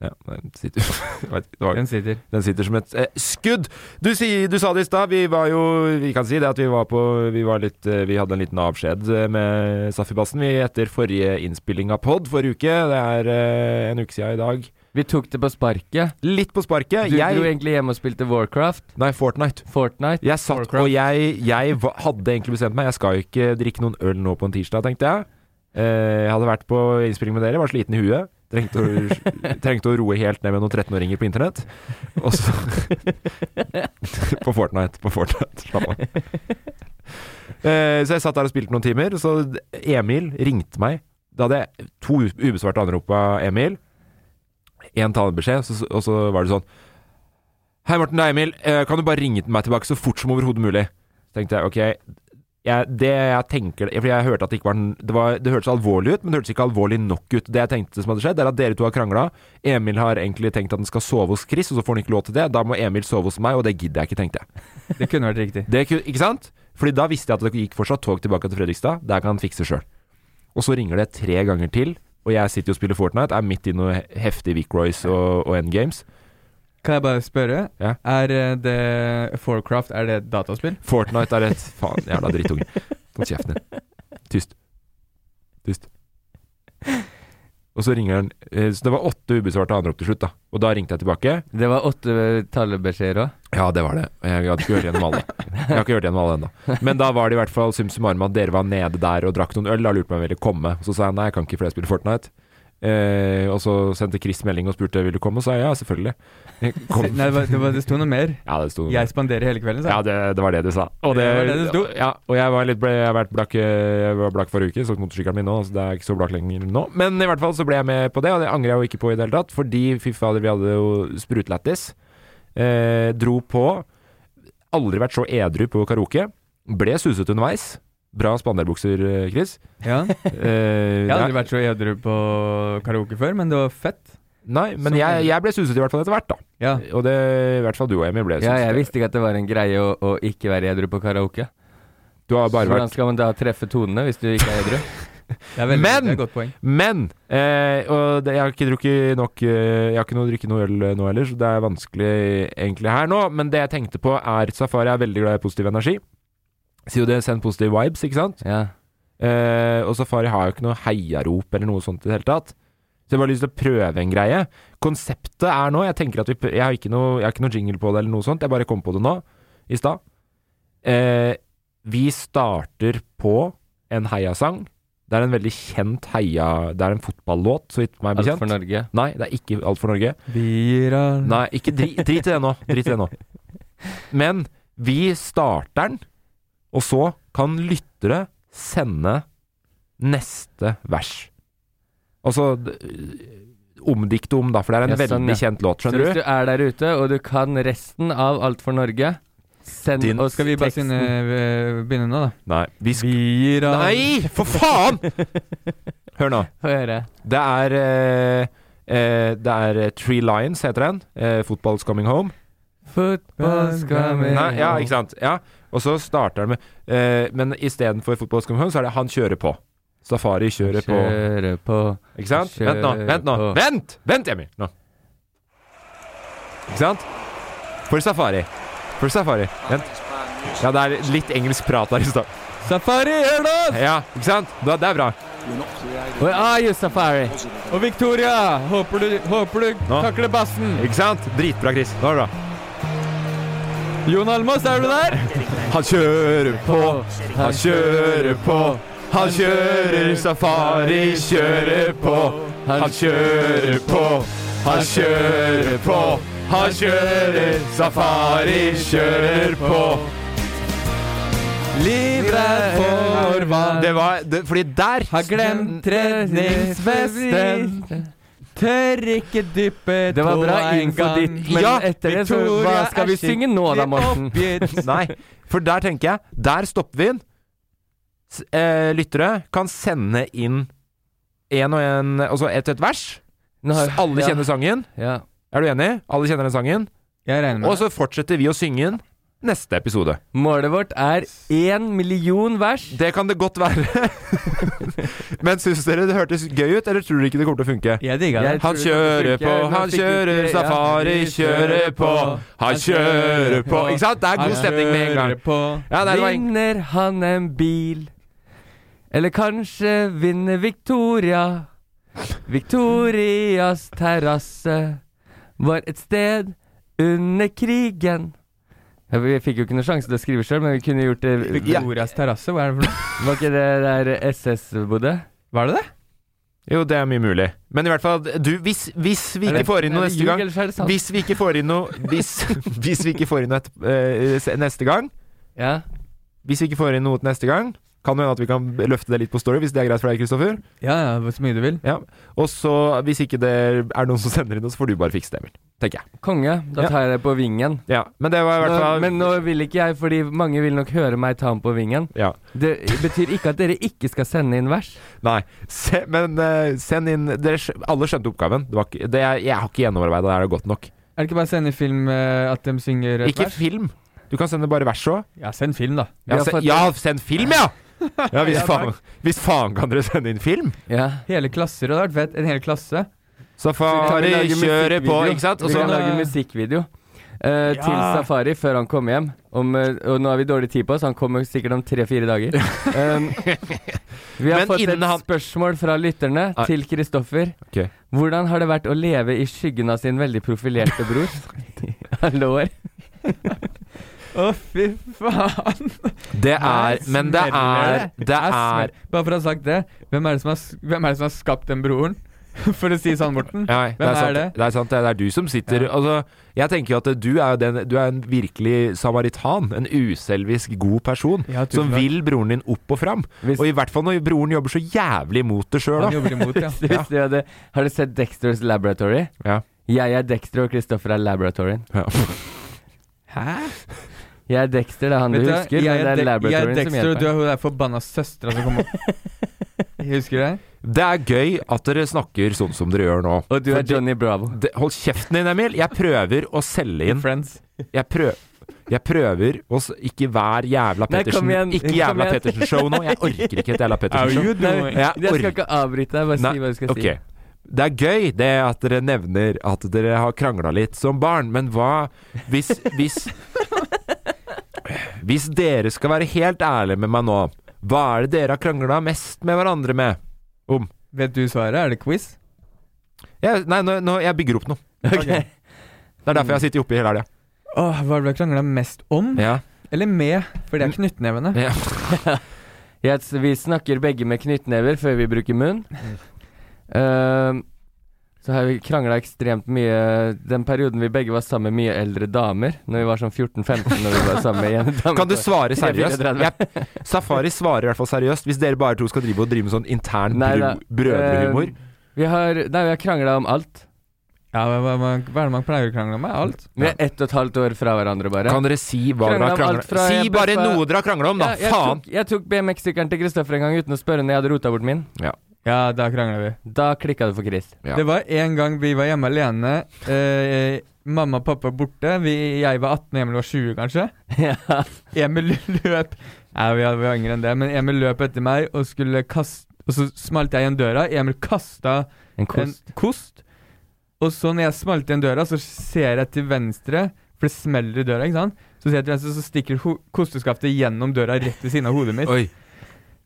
[SPEAKER 1] Ja, den sitter Jeg vet ikke, det var-
[SPEAKER 3] Den sitter.
[SPEAKER 1] Den sitter som et eh, skudd. Du, si, du sa det i stad, vi var jo Vi kan si det at vi var på Vi, var litt, eh, vi hadde en liten avskjed eh, med Safibassen vi etter forrige innspilling av pod forrige uke. Det er eh, en uke siden i dag.
[SPEAKER 2] Vi tok det på sparket.
[SPEAKER 1] Litt på sparket.
[SPEAKER 2] Du dro
[SPEAKER 1] jeg
[SPEAKER 2] egentlig hjem og spilte Warcraft.
[SPEAKER 1] Nei, Fortnite.
[SPEAKER 2] Fortnite.
[SPEAKER 1] Jeg satt
[SPEAKER 3] Warcraft.
[SPEAKER 1] og jeg, jeg va- hadde egentlig bestemt meg. Jeg skal jo ikke drikke noen øl nå på en tirsdag, tenkte jeg. Eh, jeg hadde vært på innspilling med dere, var sliten i huet. Trengte å, trengte å roe helt ned med noen 13-åringer på internett. Og så På Fortnite. På Fortnite. Slapp av. Eh, så jeg satt der og spilte noen timer. Så Emil ringte meg. Da hadde jeg to u- ubesvarte anrop av Emil. Én talebeskjed, så- og så var det sånn Hei, Morten, det er Emil. Eh, Kan du bare ringe til meg tilbake så fort som overhodet mulig? Så tenkte jeg, ok jeg, Det jeg tenker For jeg hørte at det ikke var, en- det var Det hørtes alvorlig ut, men det hørtes ikke alvorlig nok ut. Det jeg tenkte som hadde skjedd, er at dere to har krangla. Emil har egentlig tenkt at han skal sove hos Chris, og så får han ikke lov til det. Da må Emil sove hos meg, og det gidder jeg ikke, tenkte jeg.
[SPEAKER 3] Det kunne vært riktig.
[SPEAKER 1] Det, ku- ikke sant? Fordi da visste jeg at det gikk fortsatt tog tilbake til Fredrikstad. Der kan han fikse sjøl. Og så ringer det tre ganger til, og jeg sitter jo og spiller Fortnite, er midt i noe he- heftig Vic Royce og, og Endgames.
[SPEAKER 3] Kan jeg bare spørre?
[SPEAKER 1] Ja.
[SPEAKER 3] Er eh, det Forcraft, er det et dataspill?
[SPEAKER 1] Fortnite er et Faen, jævla drittunge. Hold kjeften din. Tyst. Tyst. Og så ringer han eh, Så det var åtte ubesvarte anrop til slutt, da. Og da ringte jeg tilbake.
[SPEAKER 2] Det var åtte eh, tallebeskjeder òg.
[SPEAKER 1] Ja, det var det. Og Jeg hadde ikke hørt gjennom alle. Jeg har ikke hørt gjennom alle ennå. Men da var det i hvert fall sum summarum at dere var nede der og drakk noen øl. Da lurte jeg på om jeg ville komme. Så sa jeg nei, jeg kan ikke fordi jeg spiller Fortnite. Eh, og så sendte Chris melding og spurte vil du komme, og sa jeg, ja, selvfølgelig. Jeg kom.
[SPEAKER 3] Nei, det, var, det, var, det sto noe mer.
[SPEAKER 1] Ja, det sto
[SPEAKER 3] Jeg spanderer hele kvelden, sa
[SPEAKER 1] ja,
[SPEAKER 3] jeg.
[SPEAKER 1] det, det var det du sa. Og det,
[SPEAKER 3] Det var det det sto.
[SPEAKER 1] Ja, og jeg var litt ble, jeg har vært blakk, eh, jeg var blakk forrige uke, så motorsykkelen min nå, så det er ikke så blakk lenger nå. Men i hvert fall så ble jeg med på det, og det angrer jeg jo ikke på i det hele tatt, fordi fy fader, vi hadde jo sprutlættis. Eh, dro på. Aldri vært så edru på karaoke. Ble suset underveis. Bra spanderbukser, eh, Chris.
[SPEAKER 3] Ja.
[SPEAKER 1] Eh,
[SPEAKER 3] Jeg har
[SPEAKER 1] ja.
[SPEAKER 3] aldri vært så edru på karaoke før, men det var fett.
[SPEAKER 1] Nei, men jeg, jeg ble suset i hvert fall etter hvert, da.
[SPEAKER 3] Ja.
[SPEAKER 1] Og det i hvert fall du og Emil ble suset.
[SPEAKER 2] Ja, jeg visste ikke at det var en greie å, å ikke være edru på karaoke.
[SPEAKER 1] Du har bare vært
[SPEAKER 2] Hvordan skal man da treffe tonene hvis du ikke er edru?
[SPEAKER 3] Det er veldig,
[SPEAKER 1] Men-
[SPEAKER 3] det er et godt poeng.
[SPEAKER 1] Men eh, Og det, jeg har ikke drukket nok eh, Jeg har ikke noe, drukket noe øl eh, nå heller, så det er vanskelig egentlig her nå. Men det jeg tenkte på, er Safari er veldig glad i positiv energi. Sier jo det, send positive vibes, ikke sant?
[SPEAKER 2] Ja.
[SPEAKER 1] Eh, og Safari har jo ikke noe heiarop eller noe sånt i det hele tatt. Så jeg har bare lyst til å prøve en greie. Konseptet er nå Jeg tenker at vi pr- Jeg har ikke noe, jeg har ikke noe jingle på det eller noe sånt. Jeg bare kom på det nå, i stad. Eh, Vi starter på en heiasang. Det er en veldig kjent heia... Det er en fotballåt, så vidt meg
[SPEAKER 2] Alt for
[SPEAKER 1] bekjent.
[SPEAKER 2] Norge.
[SPEAKER 1] Nei, det er ikke Alt for Norge.
[SPEAKER 3] Vi gir
[SPEAKER 2] Mhm.
[SPEAKER 3] all
[SPEAKER 1] Nei, ikke dri, drit i det nå. Drit i det nå. Men vi starter den, og så kan lyttere sende neste vers. Altså d- omdikte om, da, for det er en
[SPEAKER 2] Ja, sånn,
[SPEAKER 1] veldig
[SPEAKER 2] ja.
[SPEAKER 1] kjent låt,
[SPEAKER 2] Så hvis
[SPEAKER 1] skjønner
[SPEAKER 2] du
[SPEAKER 1] du?
[SPEAKER 2] er der ute, og du kan resten av Alt for Norge, send
[SPEAKER 1] Din-
[SPEAKER 2] oss
[SPEAKER 3] Skal vi bare begynne, begynne nå, da?
[SPEAKER 1] Nei, vi sk...
[SPEAKER 3] Vi gir all
[SPEAKER 1] Nei, for faen! Hør nå.
[SPEAKER 2] Få høre.
[SPEAKER 1] Det er eh, eh, Det er eh, Three Lions, heter den. Eh, Football's Coming Home.
[SPEAKER 2] Football's coming
[SPEAKER 1] Nei, ja, ikke sant. Ja. Og så starter den med eh, Men istedenfor Football's Coming Home, så er det Han kjører på. Safari kjører på.
[SPEAKER 2] Kjøre på.
[SPEAKER 1] Ikke sant? Vent nå,
[SPEAKER 2] Kjører
[SPEAKER 1] vent nå.
[SPEAKER 2] på.
[SPEAKER 1] Vent! Vent, Emil! Nå. Ikke sant? For Safari. For Safari. Vent. Ja, det er litt engelsk prat der i stad.
[SPEAKER 2] Safari, hør nå!
[SPEAKER 1] Ja, ikke sant? Da- Det er bra.
[SPEAKER 2] Where are you, Safari?
[SPEAKER 3] Og Victoria! Håper du, håper du
[SPEAKER 1] Nå.
[SPEAKER 3] takler bassen!
[SPEAKER 1] Ikke sant? Dritbra, Chris. Nå er det bra.
[SPEAKER 3] Jon Almaas, er du der?
[SPEAKER 1] Han kjører på, han kjører på. Han kjører safari, kjører på. Han kjører på, han kjører på. Han kjører safari, kjører på.
[SPEAKER 3] Livredd for vann.
[SPEAKER 1] Det var det, Fordi der
[SPEAKER 3] Har glemt redningsvesten. Tør ikke dyppe
[SPEAKER 2] Det var bra
[SPEAKER 3] tåa en
[SPEAKER 2] info
[SPEAKER 3] gang.
[SPEAKER 2] ditt, men
[SPEAKER 1] Ja,
[SPEAKER 2] etter det så Hva
[SPEAKER 3] Victoria
[SPEAKER 2] skal vi
[SPEAKER 3] er
[SPEAKER 2] synge nå da,
[SPEAKER 3] skikkelig
[SPEAKER 2] Morten?
[SPEAKER 3] oppgitt.
[SPEAKER 1] Nei, for der tenker jeg Der stopper vi den. S eh, lyttere kan sende inn en og en Altså ett og ett vers.
[SPEAKER 2] Nå har-
[SPEAKER 1] S- Alle
[SPEAKER 2] ja,
[SPEAKER 1] kjenner sangen.
[SPEAKER 2] Ja.
[SPEAKER 1] Er du enig? Alle kjenner den sangen.
[SPEAKER 3] Jeg regner
[SPEAKER 1] Og
[SPEAKER 3] med det.
[SPEAKER 1] så fortsetter vi å synge den neste episode.
[SPEAKER 2] Målet vårt er én million vers.
[SPEAKER 1] Det kan det godt være. Men syns dere det hørtes gøy ut, eller tror dere ikke det kommer til å funke?
[SPEAKER 3] Jeg digga det.
[SPEAKER 2] Jeg-
[SPEAKER 1] Han kjører på, han kjører safari, kjører på. Han kjører på. Ikke sant? Det er god stemning med en gang. Ja, nei, det var en
[SPEAKER 2] Vinner han en bil? Eller kanskje vinner Victoria? Victorias terrasse var et sted under krigen. Ja, vi fikk jo ikke noen sjanse til å skrive sjøl, men vi kunne gjort det
[SPEAKER 3] Victorias terrasse, hva er det for noe?
[SPEAKER 2] Var ikke det der SS bodde?
[SPEAKER 3] Var det det?
[SPEAKER 1] Jo, det er mye mulig. Men i hvert fall, du, hvis, hvis vi ikke får inn noe neste gang
[SPEAKER 2] gang.
[SPEAKER 1] Hvis vi ikke får inn noe Hvis, hvis vi ikke får inn noe et, eh, se- neste gang
[SPEAKER 2] Ja.
[SPEAKER 1] Hvis vi ikke får inn noe til neste gang kan det hende at vi kan løfte det litt på story, hvis det er greit for deg, Kristoffer.
[SPEAKER 3] Ja, ja, så mye du vil.
[SPEAKER 1] Ja. Og så, hvis ikke det er noen som sender inn noe, så får du bare fikse det, Emil. Tenker jeg.
[SPEAKER 2] Konge. Da
[SPEAKER 1] Ja.
[SPEAKER 2] tar jeg det på vingen.
[SPEAKER 1] Ja. Men det var i hvert
[SPEAKER 2] Nå,
[SPEAKER 1] fall
[SPEAKER 2] men nå vil ikke jeg, fordi mange vil nok høre meg ta den på vingen.
[SPEAKER 1] ja.
[SPEAKER 2] Det betyr ikke at dere ikke skal sende inn vers.
[SPEAKER 1] Nei. Se, men eh, send inn dere, skj- Alle skjønte oppgaven. Det var ikke, det, er- jeg har ikke gjennomarbeida det her godt nok.
[SPEAKER 3] Er det ikke bare å sende film eh, at de synger et
[SPEAKER 1] Ikke
[SPEAKER 3] vers?
[SPEAKER 1] film. Du kan sende bare vers òg.
[SPEAKER 3] Ja, send film, da.
[SPEAKER 2] Vi
[SPEAKER 1] Ja,
[SPEAKER 2] har
[SPEAKER 1] se,
[SPEAKER 2] fått-
[SPEAKER 1] ja, send film, ja! Ja, hvis,
[SPEAKER 3] Ja,
[SPEAKER 1] faen, hvis faen kan dere sende inn film?
[SPEAKER 2] Ja.
[SPEAKER 3] Hele klasser hadde vært fett. En hel klasse.
[SPEAKER 2] Så
[SPEAKER 1] Safari
[SPEAKER 2] kan vi lage
[SPEAKER 1] kjører på,
[SPEAKER 2] musikkvideo.
[SPEAKER 1] ikke sant? Og
[SPEAKER 2] vi
[SPEAKER 1] så
[SPEAKER 2] kan lage musikkvideo eh, til Safari før han kommer hjem. Om, eh, og nå har vi dårlig tid på oss, han kommer sikkert om tre-fire dager. Um, vi har
[SPEAKER 1] Men
[SPEAKER 2] fått
[SPEAKER 1] innen
[SPEAKER 2] et
[SPEAKER 1] han-
[SPEAKER 2] spørsmål fra lytterne
[SPEAKER 1] Nei.
[SPEAKER 2] til Kristoffer.
[SPEAKER 1] Ok.
[SPEAKER 2] Hvordan har det vært å leve i skyggen av sin veldig profilerte bror? Lår.
[SPEAKER 3] Å, fy faen.
[SPEAKER 1] Det er
[SPEAKER 3] Her
[SPEAKER 1] Men det
[SPEAKER 3] smeller
[SPEAKER 1] er Det
[SPEAKER 3] Her
[SPEAKER 1] er
[SPEAKER 3] smell- Bare for å ha sagt det, hvem er det som har, s- hvem er det som har skapt den broren? For å si sånn, Morten.
[SPEAKER 1] Nei, det
[SPEAKER 3] Hvem
[SPEAKER 1] er, sant,
[SPEAKER 3] er
[SPEAKER 1] det?
[SPEAKER 3] det?
[SPEAKER 1] er sant. Det er du som sitter Altså, jeg tenker jo at du er, jo den, du er en virkelig samaritan. En uselvisk god person.
[SPEAKER 3] Ja, tusen
[SPEAKER 1] som
[SPEAKER 3] takk.
[SPEAKER 1] vil broren din opp og fram.
[SPEAKER 2] Hvis-
[SPEAKER 1] Og i hvert fall når broren jobber så jævlig mot det sjøl,
[SPEAKER 3] Han
[SPEAKER 1] da.
[SPEAKER 3] jobber imot, ja.
[SPEAKER 2] Hvis du hadde, har du sett Dexters Laboratory?
[SPEAKER 1] Ja.
[SPEAKER 2] Jeg er Dexter, og Kristoffer er Laboratorien.
[SPEAKER 1] Ja.
[SPEAKER 3] Hæ?
[SPEAKER 2] Jeg er Dexter, det er han du
[SPEAKER 3] Vet du hva?
[SPEAKER 2] husker,
[SPEAKER 3] jeg,
[SPEAKER 2] men det er
[SPEAKER 3] er Dek- jeg er
[SPEAKER 2] Laboratorien som
[SPEAKER 3] Dexter, og du
[SPEAKER 2] hjelper.
[SPEAKER 3] er hun der forbanna søstera som kom opp. Jeg Husker du det?
[SPEAKER 1] Det er gøy at dere snakker sånn som dere gjør nå.
[SPEAKER 2] Og du er
[SPEAKER 1] Fordi-
[SPEAKER 2] Johnny Bravo.
[SPEAKER 1] Det- Hold kjeften din, Emil. Jeg prøver å selge inn
[SPEAKER 3] Friends.
[SPEAKER 1] Jeg, prøv, jeg prøver å s- Ikke hver jævla
[SPEAKER 2] Nei,
[SPEAKER 1] Pettersen.
[SPEAKER 2] kom igjen.
[SPEAKER 1] Ikke
[SPEAKER 2] Kom
[SPEAKER 1] jævla
[SPEAKER 2] igjen.
[SPEAKER 1] Pettersen-show nå. Jeg orker ikke et jævla Pettersen-show.
[SPEAKER 2] Nei,
[SPEAKER 1] Jeg
[SPEAKER 2] jeg skal
[SPEAKER 1] orker-
[SPEAKER 2] ikke avbryte deg, bare
[SPEAKER 1] Nei,
[SPEAKER 2] si hva du skal
[SPEAKER 1] ok. Det er gøy det at dere nevner at dere har krangla litt som barn, men hva hvis Hvis, hvis dere skal være helt ærlige med meg nå, hva er det dere har krangla mest med hverandre med? Om?
[SPEAKER 3] Vet du svaret? Er det quiz?
[SPEAKER 1] Jeg, nei, nå, nå, jeg bygger opp noe.
[SPEAKER 2] si. Ok.
[SPEAKER 1] Det er derfor jeg har sittet oppe i hele helga.
[SPEAKER 3] Åh, hva har du krangla mest om?
[SPEAKER 1] Ja.
[SPEAKER 3] Eller med, for det er knyttnevene.
[SPEAKER 1] Ja.
[SPEAKER 2] Jeg, vi snakker begge med knyttnever før vi bruker munn. Ehm, så har vi krangla ekstremt mye den perioden vi begge var sammen med mye eldre damer. Når vi var sånn 14-15 når vi var sammen med en dame.
[SPEAKER 1] Kan du
[SPEAKER 2] på-
[SPEAKER 1] svare seriøst?
[SPEAKER 2] 34.
[SPEAKER 1] Ja. Safari svarer i hvert fall seriøst, hvis dere bare to skal drive og drive med sånn intern
[SPEAKER 2] Nei, da.
[SPEAKER 1] bro- brødrehumor.
[SPEAKER 2] Ehm, vi har, nei, vi har krangla om alt.
[SPEAKER 3] Ja, hva, hva, hva hva er det man pleier å krangle om? Er Alt.
[SPEAKER 2] Vi er ett og et halvt år fra hverandre, bare.
[SPEAKER 1] Kan dere si hva dere
[SPEAKER 2] Krangla
[SPEAKER 1] har
[SPEAKER 2] om alt
[SPEAKER 1] krangla
[SPEAKER 2] fra
[SPEAKER 1] Si
[SPEAKER 2] jeg
[SPEAKER 1] bare
[SPEAKER 2] bøffa-
[SPEAKER 1] noe dere har krangla om, da!
[SPEAKER 2] Ja, jeg,
[SPEAKER 1] Faen!
[SPEAKER 2] tok, jeg tok BMX-sykkelen til Kristoffer en gang uten å spørre når jeg hadde rota bort min.
[SPEAKER 3] Ja, da krangler vi.
[SPEAKER 2] Da klikka det for Chris.
[SPEAKER 1] Ja.
[SPEAKER 3] Det var en gang vi var hjemme alene. Eh, mamma og pappa borte. Vi, jeg var 18, og Emil var 20, kanskje.
[SPEAKER 2] ja.
[SPEAKER 3] Emil løp Nei, vi var vi var yngre enn det, men Emil løp etter meg og skulle kaste Og så smalt jeg igjen døra. Emil kasta
[SPEAKER 2] En kost.
[SPEAKER 3] en kost. Og så når jeg smalt igjen døra, så ser jeg til venstre, for det smeller i døra, ikke sant? Så ser jeg til venstre, så stikker ho kosteskaftet gjennom døra rett ved siden av hodet mitt.
[SPEAKER 1] Oi.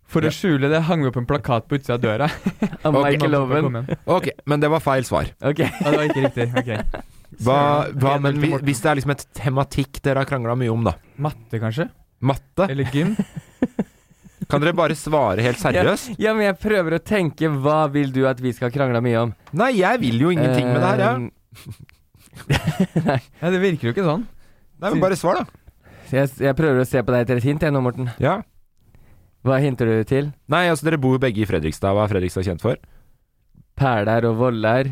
[SPEAKER 3] For å skjule det hang vi opp en plakat på utsida av døra.
[SPEAKER 2] Av
[SPEAKER 1] Ok.
[SPEAKER 2] Michael
[SPEAKER 3] Mamma og pappa kom
[SPEAKER 2] Owen.
[SPEAKER 3] hjem.
[SPEAKER 1] Ok, men det var feil svar.
[SPEAKER 2] Ok.
[SPEAKER 3] Ja, det var ikke riktig. ok
[SPEAKER 1] Hva, hva, men
[SPEAKER 3] til
[SPEAKER 1] vi-
[SPEAKER 3] Morten.
[SPEAKER 1] hvis det er liksom et tematikk dere har krangla mye om, da.
[SPEAKER 3] Matte, kanskje?
[SPEAKER 1] Matte?
[SPEAKER 3] Eller gym?
[SPEAKER 1] Kan dere bare svare helt seriøst?
[SPEAKER 2] Ja, men jeg prøver å tenke hva vil du at vi skal krangle mye om?
[SPEAKER 1] Nei, jeg vil jo ingenting med det her,
[SPEAKER 2] Ehm,
[SPEAKER 1] jeg.
[SPEAKER 3] Ja, det virker jo ikke sånn.
[SPEAKER 1] Nei, men bare svar, da.
[SPEAKER 2] Så jeg, jeg prøver å se på deg etter et hint jeg nå, Morten.
[SPEAKER 1] Ja.
[SPEAKER 2] Hva hinter du til?
[SPEAKER 1] Nei, altså dere bor jo begge i Fredrikstad. Hva er Fredrikstad kjent for?
[SPEAKER 2] Perler og voller.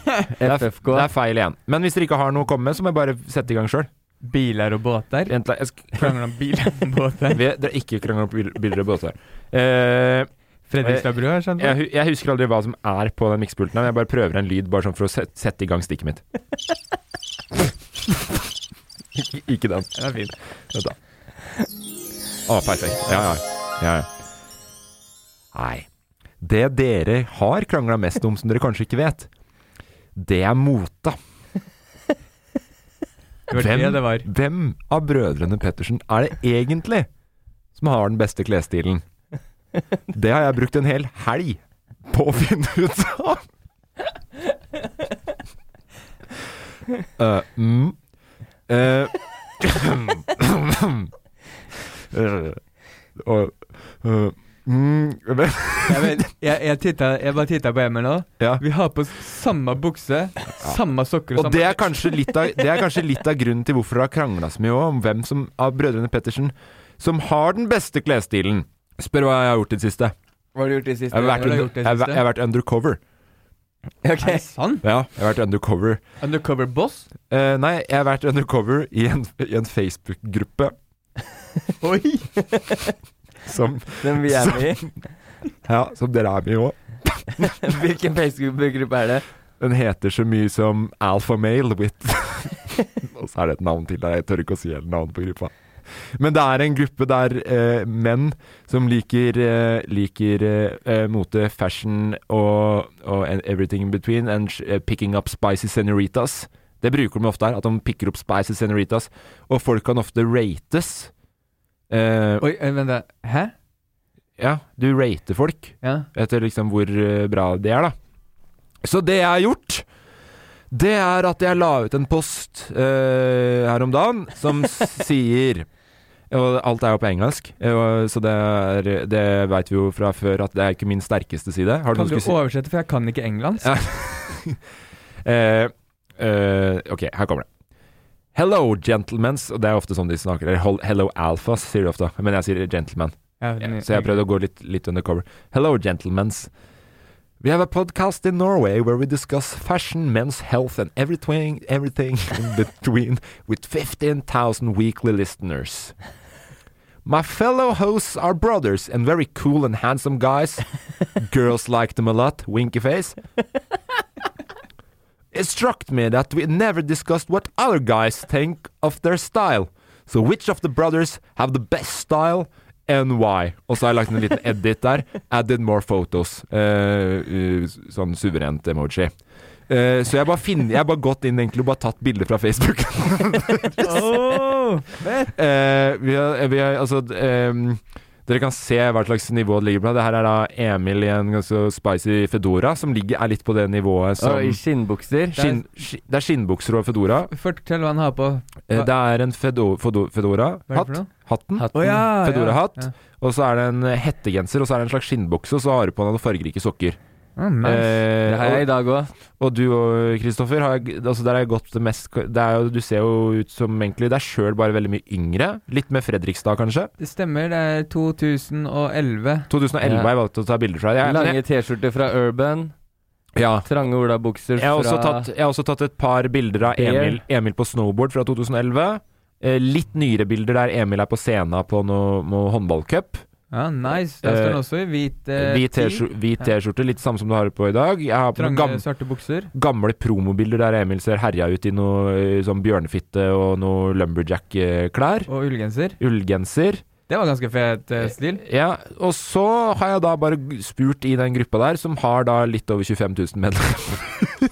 [SPEAKER 2] FFK.
[SPEAKER 1] Det er feil igjen. Men hvis dere ikke har noe å komme med, så må jeg bare sette i gang sjøl.
[SPEAKER 3] Biler og båter. Krangler om biler og båter.
[SPEAKER 1] Dere ikke krangler om bil- bilder og båter. Eh,
[SPEAKER 3] Fredrikstad-brød, har jeg skjønt.
[SPEAKER 1] jeg, hu- jeg husker aldri hva som er på den miksepulten, her, men jeg bare prøver en lyd bare sånn for å sette, sette i gang stikket mitt. Ik- ikke den. Den er fin. Vent, da. Å, perfekt. Ja, ja. ja, ja. Nei. Det dere har krangla mest om, som dere kanskje ikke vet, det er mote.
[SPEAKER 3] Det var det det var.
[SPEAKER 1] hvem av brødrene Pettersen er det egentlig som har den beste klesstilen? Det har jeg brukt en hel helg på å finne ut av. Eh, mm. Eh, eh, og, eh, mm, men-
[SPEAKER 3] Jeg, vet, jeg, jeg, tittet, jeg bare titta på Emil nå.
[SPEAKER 1] ja.
[SPEAKER 3] Vi har på oss samme bukse, samme sokker og
[SPEAKER 1] Og det
[SPEAKER 3] samme
[SPEAKER 1] er kanskje litt av, det er kanskje litt av grunnen til hvorfor det har krangla så mye også, om hvem som, av brødrene Pettersen som har den beste klesstilen. Spør hva jeg har gjort i det siste.
[SPEAKER 2] Hva har du gjort i siste?
[SPEAKER 1] Jeg har vært,
[SPEAKER 3] Hva har du
[SPEAKER 1] under,
[SPEAKER 3] gjort i
[SPEAKER 1] jeg,
[SPEAKER 3] det
[SPEAKER 1] har væ-
[SPEAKER 3] siste?
[SPEAKER 1] jeg har vært undercover.
[SPEAKER 2] Ok.
[SPEAKER 3] Er det sant?
[SPEAKER 1] Ja, jeg har vært undercover.
[SPEAKER 3] Undercover boss?
[SPEAKER 1] Eh, nei, jeg har vært undercover i en, i en Facebook-gruppe
[SPEAKER 3] Oi!
[SPEAKER 1] som,
[SPEAKER 2] Den vi er med i.
[SPEAKER 1] ja, som dere er med i òg.
[SPEAKER 2] Hvilken Facebook-gruppe er det?
[SPEAKER 1] Den heter så mye som Alphamale with Og så er det et navn til der. Jeg tør ikke å si hele navnet på gruppa. Men det er en gruppe der eh, menn som liker, eh, liker eh, eh, mote, fashion og, og and everything in between, and sh- eh, picking up spicy senoritas. Det bruker de ofte her, at de picker opp spicy senoritas. Og folk kan ofte rates. Eh,
[SPEAKER 3] Oi, eh, vent da. Hæ?
[SPEAKER 1] ja, du rater folk
[SPEAKER 3] Ja.
[SPEAKER 1] etter liksom hvor eh, bra det er, da. Så det jeg har gjort, det er at jeg la ut en post eh, her om dagen som s- sier Og alt er jo på engelsk, eh, og- så det, er- det veit vi jo fra før at det er ikke min sterkeste side. Har
[SPEAKER 3] Kan
[SPEAKER 1] noe
[SPEAKER 3] du
[SPEAKER 1] skulle si-
[SPEAKER 3] oversette, for jeg kan ikke engelsk?
[SPEAKER 1] Ja. Eh, eh, ok, her kommer det. Hello, gentlemens. Og det er ofte sånn de snakker. Eller hol- hello, alphas, sier de ofte. Men jeg sier gentleman.
[SPEAKER 3] den-
[SPEAKER 1] So I prøvde å gå litt, litt undercover. Hello, gentlemen. We have a podcast in Norway where we discuss fashion, men's health and everything, everything in between with 15,000 weekly listeners. My fellow hosts are brothers and very cool and handsome guys. Girls like them a lot, winky face. It struck me that we never discussed what other guys think of their style. So which of the brothers have the best style and why? Og så har jeg lagt en liten edit der. Added more photos. Eh, eh, s- sånn suverent emoji. Eh, så jeg har bare, finner- jeg har bare gått inn egentlig og bare tatt bilder fra Facebook.
[SPEAKER 3] Åh!
[SPEAKER 1] Eh, vi har, vi har, altså, d- ehm, dere kan se hva slags nivå det ligger på. Det her er da Emil i en ganske spicy fedora, som ligger, er litt på det nivået som
[SPEAKER 2] Og I skinnbukser.
[SPEAKER 1] Skinn, ski- det er skinnbukser og fedora.
[SPEAKER 3] Fortell hva han har på.
[SPEAKER 1] Eh,
[SPEAKER 3] Hva-
[SPEAKER 1] Det er en fedo, fedo,
[SPEAKER 3] Hva er det for
[SPEAKER 1] fedora-hatt.
[SPEAKER 3] noe?
[SPEAKER 1] hatten.
[SPEAKER 2] Hatten.
[SPEAKER 3] Å ja,
[SPEAKER 1] Fedora-hatt.
[SPEAKER 3] Ja.
[SPEAKER 1] Og så er det en eh, hettegenser, og så er det en slags skinnbukse, og så har du på deg noen fargerike sokker.
[SPEAKER 3] Ah, nice.
[SPEAKER 1] Eh,
[SPEAKER 2] Det har jeg i dag òg.
[SPEAKER 1] og, og du og Kristoffer, har, altså der har jeg gått det mest det er jo, Du ser jo ut som egentlig deg sjøl, bare veldig mye yngre. Litt mer Fredrikstad, kanskje.
[SPEAKER 3] Det stemmer, det er 2011.
[SPEAKER 1] 2011
[SPEAKER 2] Ja.
[SPEAKER 1] har jeg valgt å ta bilder fra. Jeg, men
[SPEAKER 2] Lange
[SPEAKER 1] jeg,
[SPEAKER 2] T-skjorter fra Urban.
[SPEAKER 1] ja.
[SPEAKER 2] Trange olabukser
[SPEAKER 1] jeg, har også
[SPEAKER 2] fra
[SPEAKER 1] tatt, jeg har også tatt et par bilder av
[SPEAKER 2] Bear.
[SPEAKER 1] Emil, Emil på snowboard fra 2011. Eh, litt nyere bilder der Emil er på scenen på noe, noe håndballcup.
[SPEAKER 3] Ja, Ah, nice. Der står
[SPEAKER 1] Eh,
[SPEAKER 3] den også i hvit eh,
[SPEAKER 1] Hvit
[SPEAKER 3] tee.
[SPEAKER 1] T-skjor- hvit T-skjorte, litt samme som du har på i dag. Jeg har på noen
[SPEAKER 3] Trange,
[SPEAKER 1] gam,
[SPEAKER 3] svarte bukser.
[SPEAKER 1] gamle promobilder der Emil ser herja ut i noe eh, sånn bjørnefitte og noe lumberjack-klær.
[SPEAKER 3] Og ullgenser.
[SPEAKER 1] Ullgenser.
[SPEAKER 3] Det var ganske fet eh, stil.
[SPEAKER 1] Ja, og så har jeg da bare g- spurt i den gruppa der, som har da litt over 25 000 medlemmer,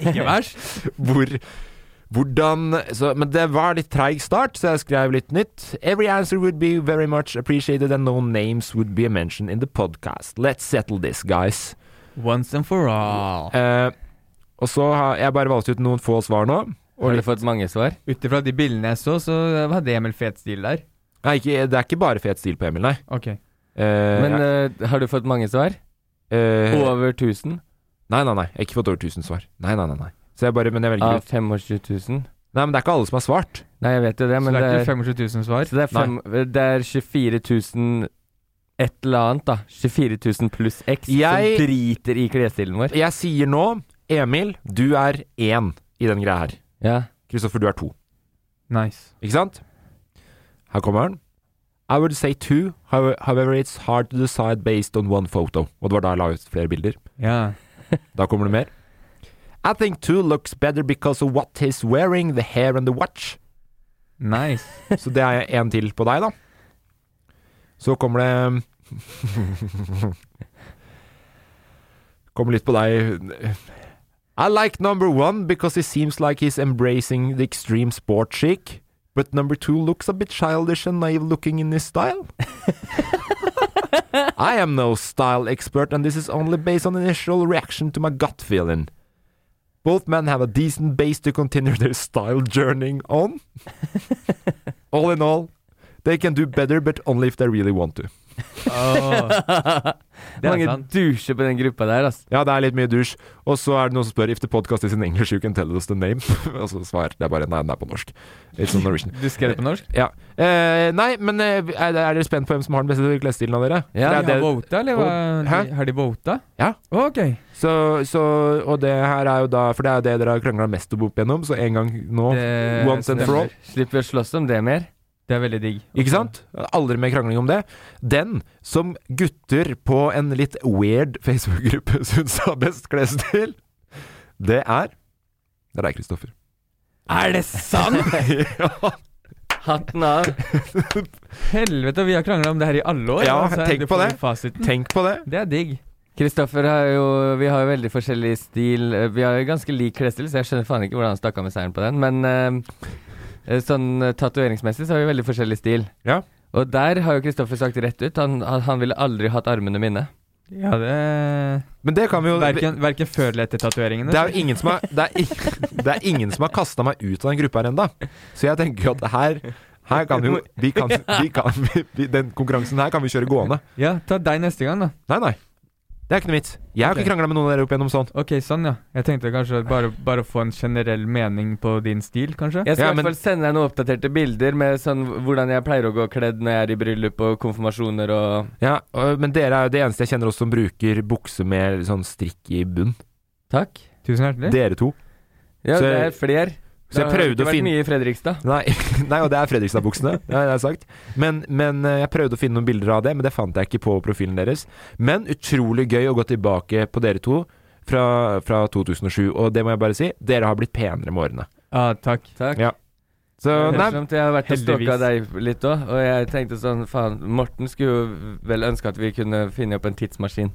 [SPEAKER 3] Ikke verst.
[SPEAKER 1] hvor hvordan så, Men det var litt treig start, så jeg skrev litt nytt. Every answer would be very much appreciated, and no names would be mentioned in the podcast. Let's settle this, guys.
[SPEAKER 3] Once and for all.
[SPEAKER 1] Eh, og så har jeg bare valgt ut noen få svar nå.
[SPEAKER 2] Har du fått mange svar?
[SPEAKER 3] Ut ifra de bildene jeg så, så hadde Emil fet stil der.
[SPEAKER 1] Nei, ikke, det er ikke bare fet stil på Emil, nei.
[SPEAKER 3] Ok.
[SPEAKER 1] Eh,
[SPEAKER 2] Men eh, har du fått mange svar?
[SPEAKER 1] eh,
[SPEAKER 2] Over 1000?
[SPEAKER 1] Nei, nei, nei. Jeg har ikke fått over 1000 svar. Nei, nei, nei. nei. Så jeg bare, men jeg velger
[SPEAKER 2] Av
[SPEAKER 1] ut.
[SPEAKER 2] 25 000?
[SPEAKER 1] Nei, men det er ikke alle som har svart.
[SPEAKER 2] Nei, jeg vet jo det, men
[SPEAKER 3] så det er
[SPEAKER 2] det er,
[SPEAKER 3] ikke 25 000 svar.
[SPEAKER 2] så det er, fem, det er 24 000 et eller annet, da. 24 000 pluss X
[SPEAKER 1] Jeg-
[SPEAKER 2] som driter i klesstilen vår.
[SPEAKER 1] Jeg sier nå, Emil, du er én i den greia her.
[SPEAKER 2] Ja.
[SPEAKER 1] Kristoffer, du er to.
[SPEAKER 3] Nice.
[SPEAKER 1] Ikke sant? Her kommer han. I would say two, how- however it's hard to decide based on one photo. Og det var da jeg la ut flere bilder.
[SPEAKER 3] Ja.
[SPEAKER 1] Da kommer det mer. I think two looks better because of what he's wearing, the hair and the watch.
[SPEAKER 3] Nice.
[SPEAKER 1] Så det er en til på deg, da. Så kommer det Kommer litt på deg. I like number one because he seems like he's embracing the extreme sport chic. But number two looks a bit childish and naive looking in his style. I am no style expert, and this is only based on initial reaction to my gut feeling. Both men have a decent base to continue their style journey on. All in all, they can do better, but only if they really want to.
[SPEAKER 3] Åh. Det er
[SPEAKER 2] mange
[SPEAKER 3] sant.
[SPEAKER 2] dusjer på den gruppa der, altså.
[SPEAKER 1] Ja, det er litt mye dusj. Og så er det noen som spør if the podcast is in English, you can tell us the name. Og så svarer det er bare nei, den er på norsk. It's on Norwegian.
[SPEAKER 3] Du skrev det på norsk?
[SPEAKER 1] Ja. Eh, nei, men eh, er er dere spent på hvem som har den beste klesstilen av dere?
[SPEAKER 2] Ja,
[SPEAKER 1] det er
[SPEAKER 3] har
[SPEAKER 1] det,
[SPEAKER 3] vota, eller hva?
[SPEAKER 1] Hæ?
[SPEAKER 3] Har de vota?
[SPEAKER 1] Ja.
[SPEAKER 3] Ok.
[SPEAKER 1] så, så, og det her er jo da For det er jo det dere har krangla mest om opp igjennom, så en gang nå.
[SPEAKER 3] Det
[SPEAKER 1] Once and for all.
[SPEAKER 2] Slipper å slåss om det mer.
[SPEAKER 3] Det er veldig digg.
[SPEAKER 1] Ikke sant? Aldri mer krangling om det. Den som gutter på en litt weird Facebook-gruppe syns har best klesstil, det er Det er deg, Kristoffer.
[SPEAKER 3] Er det sant?!
[SPEAKER 1] ja.
[SPEAKER 2] Hatten av.
[SPEAKER 3] Helvete, vi har krangla om det her i alle år.
[SPEAKER 1] Ja,
[SPEAKER 3] altså,
[SPEAKER 1] tenk
[SPEAKER 3] du
[SPEAKER 1] på
[SPEAKER 3] får
[SPEAKER 1] det.
[SPEAKER 3] Fasiten.
[SPEAKER 1] Tenk på det.
[SPEAKER 3] Det er digg.
[SPEAKER 2] Kristoffer har jo Vi har jo veldig forskjellig stil. Eh, Vi har jo ganske lik klesstil, så jeg skjønner faen ikke hvordan han stakk av med seieren på den. Men eh, eh, sånn eh, tatoveringsmessig så har vi veldig forskjellig stil.
[SPEAKER 1] Ja.
[SPEAKER 2] Og der har jo Kristoffer sagt rett ut. Han, han, han ville aldri hatt armene mine.
[SPEAKER 3] Ja, det
[SPEAKER 1] Men det kan vi jo
[SPEAKER 3] Verken, verken før eller etter tatoveringene.
[SPEAKER 1] Det er jo ingen som har, det er, ing- det er ingen som har kasta meg ut av den gruppa her ennå. Så jeg tenker jo at her her kan vi jo vi kan, vi kan, vi, Den konkurransen her kan vi kjøre gående.
[SPEAKER 3] Ja, ta deg neste gang, da.
[SPEAKER 1] Nei, nei. Det er ikke noe vits. Jeg har ikke
[SPEAKER 3] Ok.
[SPEAKER 1] krangla med noen av dere opp igjennom sånn.
[SPEAKER 3] Ok, sånn, ja. Jeg tenkte kanskje bare, bare å få en generell mening på din stil, kanskje.
[SPEAKER 2] Jeg skal
[SPEAKER 1] Ja,
[SPEAKER 2] i
[SPEAKER 1] men-
[SPEAKER 2] hvert fall sende deg noen oppdaterte bilder med sånn hvordan jeg pleier å gå kledd når jeg er i bryllup og konfirmasjoner og
[SPEAKER 1] Ja, øh, men dere er jo det eneste jeg kjenner også som bruker bukse med sånn strikk i bunn.
[SPEAKER 2] Takk.
[SPEAKER 3] Tusen hjertelig.
[SPEAKER 1] Dere to.
[SPEAKER 2] Ja,
[SPEAKER 1] Så-
[SPEAKER 2] det er fler.
[SPEAKER 1] Så jeg prøvde
[SPEAKER 2] det
[SPEAKER 1] å
[SPEAKER 2] har ikke vært
[SPEAKER 1] finne
[SPEAKER 2] mye i Fredrikstad.
[SPEAKER 1] Nei, nei, og det er Fredrikstad-buksene, det har jeg sagt. Men, men eh, jeg prøvde å finne noen bilder av det, men det fant jeg ikke på profilen deres. Men utrolig gøy å gå tilbake på dere to fra, fra 2007, og det må jeg bare si, dere har blitt penere med årene.
[SPEAKER 3] Ja, Ah, takk.
[SPEAKER 2] Takk.
[SPEAKER 1] Ja. Så
[SPEAKER 2] Det er
[SPEAKER 1] nei,
[SPEAKER 2] morsomt. Jeg har vært og stalka
[SPEAKER 3] Heldigvis.
[SPEAKER 2] deg litt òg, og jeg tenkte sånn faen Morten skulle jo vel ønske at vi kunne finne opp en tidsmaskin.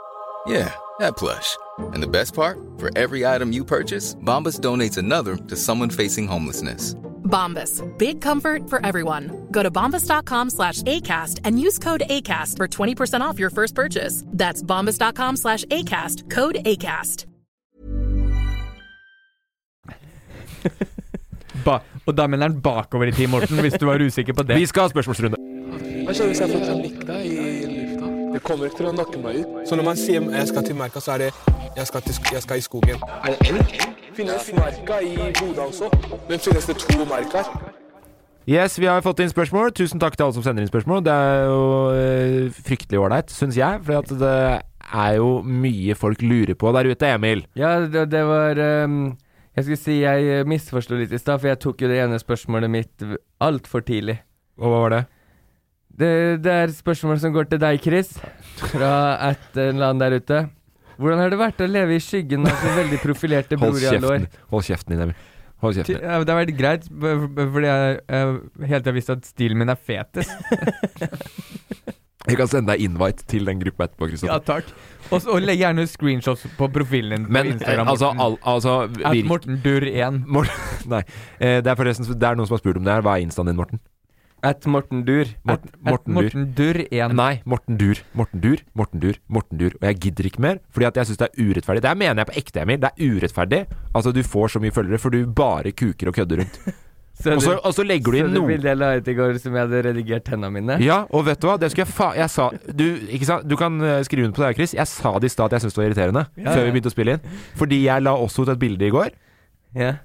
[SPEAKER 4] Yeah, that plush. And the best part? For every item you purchase, Bombas donates another to someone facing homelessness.
[SPEAKER 5] Bombas. Big comfort for everyone. Go to bombas.com slash ACAST and use code ACAST for 20% off your first purchase. That's bombas.com slash ACAST. Code ACAST.
[SPEAKER 3] Ba og da melder han bakover i tid, Morten, hvis du var usikker på det.
[SPEAKER 1] Vi skal ha spørsmålsrunde.
[SPEAKER 6] Hva skjer hvis jeg får panikk da i lufta? Det kommer ikke til å nakke meg ut. Så når man sier 'jeg skal til merka', så er det 'jeg skal, til, sk- jeg skal i skogen'? Er det elg? Finnes merka i Bodø også? Men finnes det to merker?
[SPEAKER 1] Yes, vi har fått inn spørsmål. Tusen takk til alle som sender inn spørsmål. Det er jo eh, fryktelig ålreit, syns jeg. For det er jo mye folk lurer på der ute, Emil.
[SPEAKER 2] Ja, det, det var ehm, Jeg skulle si jeg eh, misforsto litt i stad, for jeg tok jo det ene spørsmålet mitt altfor tidlig.
[SPEAKER 1] Og hva var det?
[SPEAKER 2] Det, det er spørsmål som går til deg, Chris, fra et eh, eller annet der ute. Hvordan har det vært å leve i skyggen av så veldig profilerte
[SPEAKER 1] Hold
[SPEAKER 2] bror i alle år?
[SPEAKER 1] kjeften. Hold kjeften din, Emil. Hold
[SPEAKER 3] Ty-
[SPEAKER 1] kjeften.
[SPEAKER 3] ja, Det har vært greit, b- b- fordi jeg eh, helt til jeg visste at stilen min er fetes.
[SPEAKER 1] Jeg kan sende deg invite til den gruppa etterpå,
[SPEAKER 3] Ja,
[SPEAKER 1] Kristoffer.
[SPEAKER 3] takk. Og så- og legg gjerne screenshots på profilen din på
[SPEAKER 1] Men eh,
[SPEAKER 3] Instagram.
[SPEAKER 1] altså,
[SPEAKER 3] Morten.
[SPEAKER 1] al, altså
[SPEAKER 3] At
[SPEAKER 1] vir-
[SPEAKER 3] Morten Durr 1.
[SPEAKER 1] Mor- Nei. Eh, Det er forresten det er noen som har spurt om det her. Hva er instaen din, Morten?
[SPEAKER 2] At Morten Dur.
[SPEAKER 1] Morten, Morten Dur.
[SPEAKER 3] Morten Durr 1.
[SPEAKER 1] Nei, Morten Dur. Morten Dur, Morten Dur, Morten Dur. Og jeg gidder ikke mer, fordi at jeg syns det er urettferdig. Det her mener jeg på ekte, Emil. Det er urettferdig. Altså, du får så mye følgere, for du bare kuker og kødder rundt.
[SPEAKER 2] Så
[SPEAKER 1] Og
[SPEAKER 2] du,
[SPEAKER 1] så, og så legger
[SPEAKER 2] så
[SPEAKER 1] du
[SPEAKER 2] det
[SPEAKER 1] inn noe
[SPEAKER 2] bildet jeg la ut i går som jeg hadde redigert tennene mine?
[SPEAKER 1] Ja, og vet du hva? Det skulle jeg fa... Jeg sa Du, ikke sant? du kan eh, skrive under på det her, Chris. Jeg sa det i stad at jeg syntes det var irriterende,
[SPEAKER 2] Ja,
[SPEAKER 1] før
[SPEAKER 2] ja.
[SPEAKER 1] vi begynte å spille inn. Fordi jeg la også ut et bilde i går,
[SPEAKER 2] Ja.